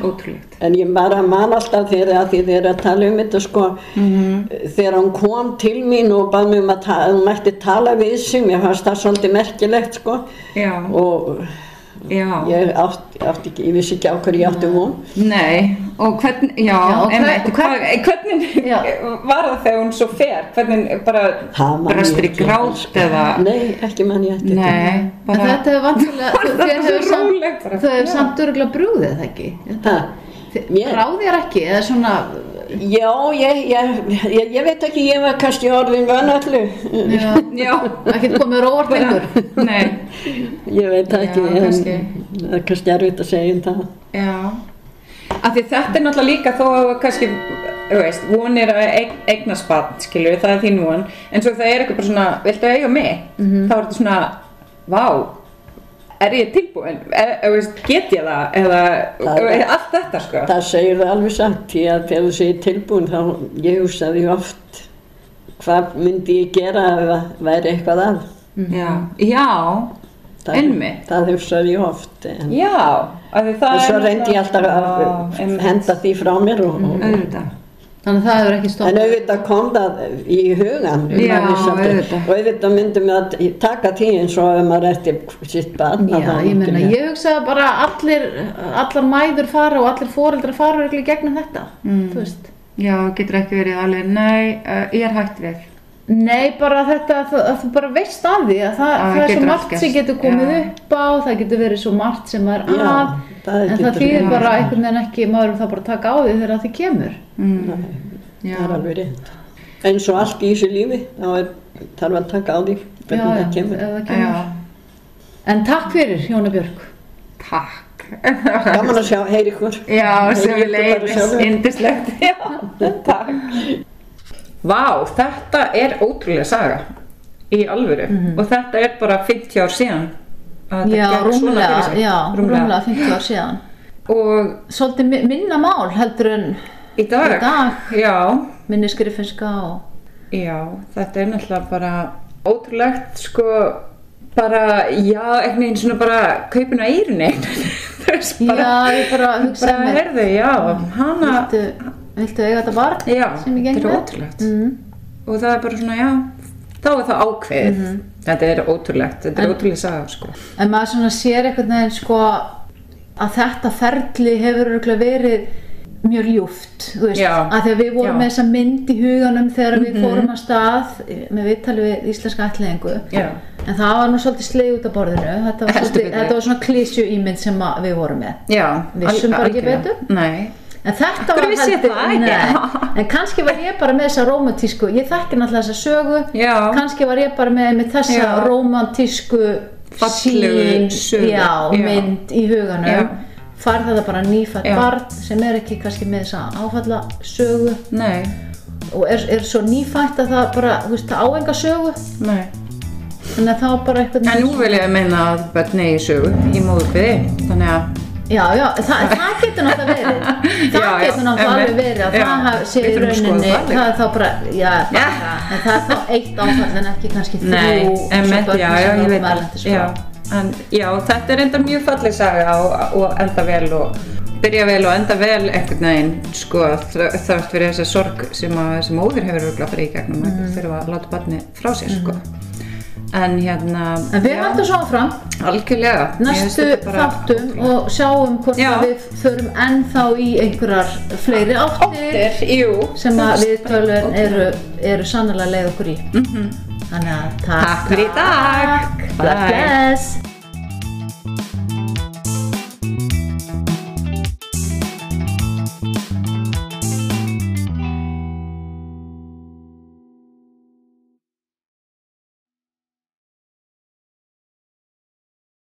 [SPEAKER 2] Ótrúlegt.
[SPEAKER 3] En ég bara man alltaf þegar að þið er að tala um þetta sko,
[SPEAKER 2] Mhm.
[SPEAKER 3] þegar hún kom til mín og bað mér um að ta- að hún mætti tala við sig, mér fannst það svolítið merkilegt sko
[SPEAKER 2] Já,
[SPEAKER 3] og
[SPEAKER 2] já. Mhm.
[SPEAKER 3] ég átti, átti ekki, ég vissi ekki á hverju ég átti von.
[SPEAKER 2] Nei, og hvernig, já,
[SPEAKER 1] Já, og
[SPEAKER 2] en,
[SPEAKER 1] hvern-
[SPEAKER 2] hvernig, hvernig
[SPEAKER 1] Já.
[SPEAKER 2] var það þegar hún svo fer? Hvernig bara
[SPEAKER 3] Það man ég
[SPEAKER 2] brestir í
[SPEAKER 3] ekki,
[SPEAKER 2] grátt eða?
[SPEAKER 3] Nei, ekki man ég eftir
[SPEAKER 2] Nei,
[SPEAKER 1] En
[SPEAKER 2] bara,
[SPEAKER 1] þetta hefur vantilega,
[SPEAKER 2] Þetta
[SPEAKER 1] þér
[SPEAKER 2] er
[SPEAKER 1] hefur
[SPEAKER 2] svo
[SPEAKER 1] samt,
[SPEAKER 2] rólegt bara.
[SPEAKER 1] þau hefur
[SPEAKER 2] Já.
[SPEAKER 1] samt örgulega brúðið það ekki?
[SPEAKER 3] Það,
[SPEAKER 1] Þi-
[SPEAKER 3] Mér-
[SPEAKER 1] Brá þér ekki, eða svona
[SPEAKER 3] Já, ég, ég, ég, ég veit ekki, ég var kannski orðin vannallu.
[SPEAKER 1] Já,
[SPEAKER 2] Já,
[SPEAKER 1] ekkert komið róvart lengur.
[SPEAKER 2] nei,
[SPEAKER 3] Ég veit það
[SPEAKER 2] Já,
[SPEAKER 3] ekki,
[SPEAKER 2] kannski.
[SPEAKER 3] en það er kannski erfitt að segja um það.
[SPEAKER 2] Já, af því þetta er náttúrulega líka þó að kannski, þú veist, vonir að eig- eignast barn, skilur, það er þín von, en svo það er eitthvað bara svona, viltu eiga mig?
[SPEAKER 3] Mhm.
[SPEAKER 2] Þá er þetta svona, vá, er ég tilbúin, er, er, veist, get ég það, eða,
[SPEAKER 3] Það er-
[SPEAKER 2] eða allt þetta, sko.
[SPEAKER 3] Það segir það alveg satt, því að þegar þú segir tilbúin þá, ég hugsaði ju oft, hvað myndi ég gera ef það væri eitthvað að?
[SPEAKER 2] Já, já,
[SPEAKER 3] Mhm. Það-
[SPEAKER 2] Einmitt.
[SPEAKER 3] Það hugsaði ég oft, en,
[SPEAKER 2] já, af því það
[SPEAKER 3] en
[SPEAKER 2] er
[SPEAKER 3] svo reyndi ég alltaf að
[SPEAKER 2] Já, einmitt.
[SPEAKER 3] henda því frá mér og, og
[SPEAKER 2] Auðvitað.
[SPEAKER 1] Þannig að það hefur ekki
[SPEAKER 3] En
[SPEAKER 1] stoppað.
[SPEAKER 3] auðvitað kom það í hugan um
[SPEAKER 2] Já,
[SPEAKER 3] að við samt-
[SPEAKER 2] auðvitað.
[SPEAKER 3] og auðvitað myndum við að taka því eins og ef maður eftir sitt barn að
[SPEAKER 1] Já,
[SPEAKER 3] þá
[SPEAKER 1] ég
[SPEAKER 3] myndum
[SPEAKER 1] meina,
[SPEAKER 3] við-
[SPEAKER 1] ég hugsa að bara allir, allar mæður fara og allir foreldrar fara örugglega í gegnum þetta,
[SPEAKER 2] Mm.
[SPEAKER 1] þú veist.
[SPEAKER 2] Já, getur ekki verið alveg, nei, uh, ég er hægt við.
[SPEAKER 1] Nei, bara þetta að þú, að þú bara veist af því að það,
[SPEAKER 2] Að
[SPEAKER 1] það er
[SPEAKER 2] getur
[SPEAKER 1] svo
[SPEAKER 2] allt
[SPEAKER 1] margt sem
[SPEAKER 2] gerst.
[SPEAKER 1] getur komið
[SPEAKER 2] Já.
[SPEAKER 1] upp á, það getur verið svo margt sem maður
[SPEAKER 3] Já,
[SPEAKER 1] af,
[SPEAKER 3] það
[SPEAKER 1] en
[SPEAKER 3] getur
[SPEAKER 1] það þýðir
[SPEAKER 3] verið.
[SPEAKER 1] bara einhvern veginn ekki, maður er það bara að taka á því þegar það kemur.
[SPEAKER 2] Já.
[SPEAKER 3] það er alveg rétt eins og allt í þessu lífi þá er, þarf að taka á því
[SPEAKER 1] Já,
[SPEAKER 3] hvernig
[SPEAKER 1] já,
[SPEAKER 3] það kemur
[SPEAKER 1] ef
[SPEAKER 2] Já,
[SPEAKER 1] það kemur. En takk fyrir, Jóna Björg.
[SPEAKER 2] takk.
[SPEAKER 3] gaman að sjá, heyri ykkur
[SPEAKER 2] Já,
[SPEAKER 3] Heyri
[SPEAKER 2] sem
[SPEAKER 3] ykkur
[SPEAKER 2] við
[SPEAKER 3] bara
[SPEAKER 2] leiðis,
[SPEAKER 3] sjálfur.
[SPEAKER 2] indislegt, já, takk. Vá, þetta er ótrúlega saga, í alvöru, og þetta er bara 50 ár síðan. að þetta
[SPEAKER 1] Já,
[SPEAKER 2] gekk svona
[SPEAKER 1] rúmlega,
[SPEAKER 2] fyrir sig.
[SPEAKER 1] já, rúmlega 50 ár síðan.
[SPEAKER 2] Og
[SPEAKER 1] Svolítið mi- minna mál heldur en
[SPEAKER 2] í dag,
[SPEAKER 1] Í dag.
[SPEAKER 2] já,
[SPEAKER 1] minni skrifinska og...
[SPEAKER 2] já, þetta er náttúrulega bara ótrúlegt, sko, bara, já, einhvern veginn svona bara kaupin á eirunni, þú veist, bara,
[SPEAKER 1] já, ég bara hugsaði
[SPEAKER 2] bara,
[SPEAKER 1] mér,
[SPEAKER 2] herðu, já, hana,
[SPEAKER 1] viltu, viltu eiga þetta barn
[SPEAKER 2] já,
[SPEAKER 1] sem
[SPEAKER 2] þetta
[SPEAKER 1] ég geng
[SPEAKER 2] er
[SPEAKER 1] með?
[SPEAKER 2] ótrúlegt.
[SPEAKER 1] Mm.
[SPEAKER 2] og það er bara svona, já, þá er það ákveðið. Þetta er ótrúlegt, þetta er
[SPEAKER 1] Mhm. En-
[SPEAKER 2] ótrúlega saga, sko.
[SPEAKER 1] En maður svona sér einhvern veginn sko að þetta ferli hefur örugglega verið mjög ljúft, þú veist,
[SPEAKER 2] Já.
[SPEAKER 1] að þegar við
[SPEAKER 2] Já.
[SPEAKER 1] vorum
[SPEAKER 2] Mhm.
[SPEAKER 1] með þessa mynd í huganum þegar við fórum að stað eh, með viðtali við íslenska ætliðingu
[SPEAKER 2] Já.
[SPEAKER 1] en það var nú svolítið sleið út af borðinu þetta var,
[SPEAKER 2] Heldur
[SPEAKER 1] svolítið,
[SPEAKER 2] betur.
[SPEAKER 1] þetta var svona klísju ímynd sem að við vorum með
[SPEAKER 2] Já,
[SPEAKER 1] Vissum
[SPEAKER 2] al-
[SPEAKER 1] bara ekki
[SPEAKER 2] algjörlega.
[SPEAKER 1] betur?
[SPEAKER 2] Nei,
[SPEAKER 1] En þetta
[SPEAKER 2] Akkur
[SPEAKER 1] var
[SPEAKER 2] vissi ég það ekki?
[SPEAKER 1] nei, en kannski var ég bara með þessa romantísku, ég þekki náttúrulega þessa sögu,
[SPEAKER 2] Já.
[SPEAKER 1] kannski var ég bara með, með þessa
[SPEAKER 2] Já.
[SPEAKER 1] romantísku
[SPEAKER 2] Fallegu
[SPEAKER 1] sín,
[SPEAKER 2] sögu. Já.
[SPEAKER 1] já, mynd í huganum,
[SPEAKER 2] Já.
[SPEAKER 1] fær þetta bara nýfætt
[SPEAKER 2] Já.
[SPEAKER 1] barn sem er ekki kannski með þessa áfalla sögu
[SPEAKER 2] nei,
[SPEAKER 1] og er, er svo nýfætt að það bara, þú veist, það áenga sögu,
[SPEAKER 2] nei.
[SPEAKER 1] þannig að þá bara eitthvað
[SPEAKER 2] En nú vil ég meina að börn eigi sögu í móðurkviði, þannig að,
[SPEAKER 1] Já, já, þa það getur náttúrulega verið Það
[SPEAKER 2] Já, já,
[SPEAKER 1] getur náttúrulega
[SPEAKER 2] emmi.
[SPEAKER 1] alveg verið að
[SPEAKER 2] Já,
[SPEAKER 1] það haf- sé
[SPEAKER 2] við
[SPEAKER 1] í
[SPEAKER 2] þurfum að skoða
[SPEAKER 1] rauninni
[SPEAKER 2] það líka.
[SPEAKER 1] það er þá bara, já,
[SPEAKER 2] Já.
[SPEAKER 1] en það er þá eitt áfall en ekki kannski þrjú
[SPEAKER 2] nei,
[SPEAKER 1] svo
[SPEAKER 2] emmi,
[SPEAKER 1] börn
[SPEAKER 2] já, já,
[SPEAKER 1] sem eru sko.
[SPEAKER 2] ég veit
[SPEAKER 1] erlendis
[SPEAKER 2] það.
[SPEAKER 1] frá.
[SPEAKER 2] Já, en, já, þetta er enda mjög falleg saga og, og enda vel og byrja vel og enda vel einhvern veginn, sko, þr- þrátt fyrir þessa sorg sem að þessi móður hefur örugglega farið í gegnum,
[SPEAKER 1] Mhm.
[SPEAKER 2] mm. fyrir að láta barni frá sér, sko. En hérna,
[SPEAKER 1] En við
[SPEAKER 2] já.
[SPEAKER 1] hættum svo áfram
[SPEAKER 2] Algjörlega. Mér finnst
[SPEAKER 1] næstu
[SPEAKER 2] þetta bara
[SPEAKER 1] þáttum
[SPEAKER 2] ótrúlega.
[SPEAKER 1] og sjáum hvort
[SPEAKER 2] Já.
[SPEAKER 1] að við förum ennþá í einhverjar fleiri áttir
[SPEAKER 2] Óttir, jú.
[SPEAKER 1] sem að við tölun
[SPEAKER 2] Óttir.
[SPEAKER 1] eru, eru sannlega leið okkur í Þannig að takk
[SPEAKER 2] Mhm. Takk fyrir í dag.
[SPEAKER 1] Takk. God
[SPEAKER 2] Bye.
[SPEAKER 1] bless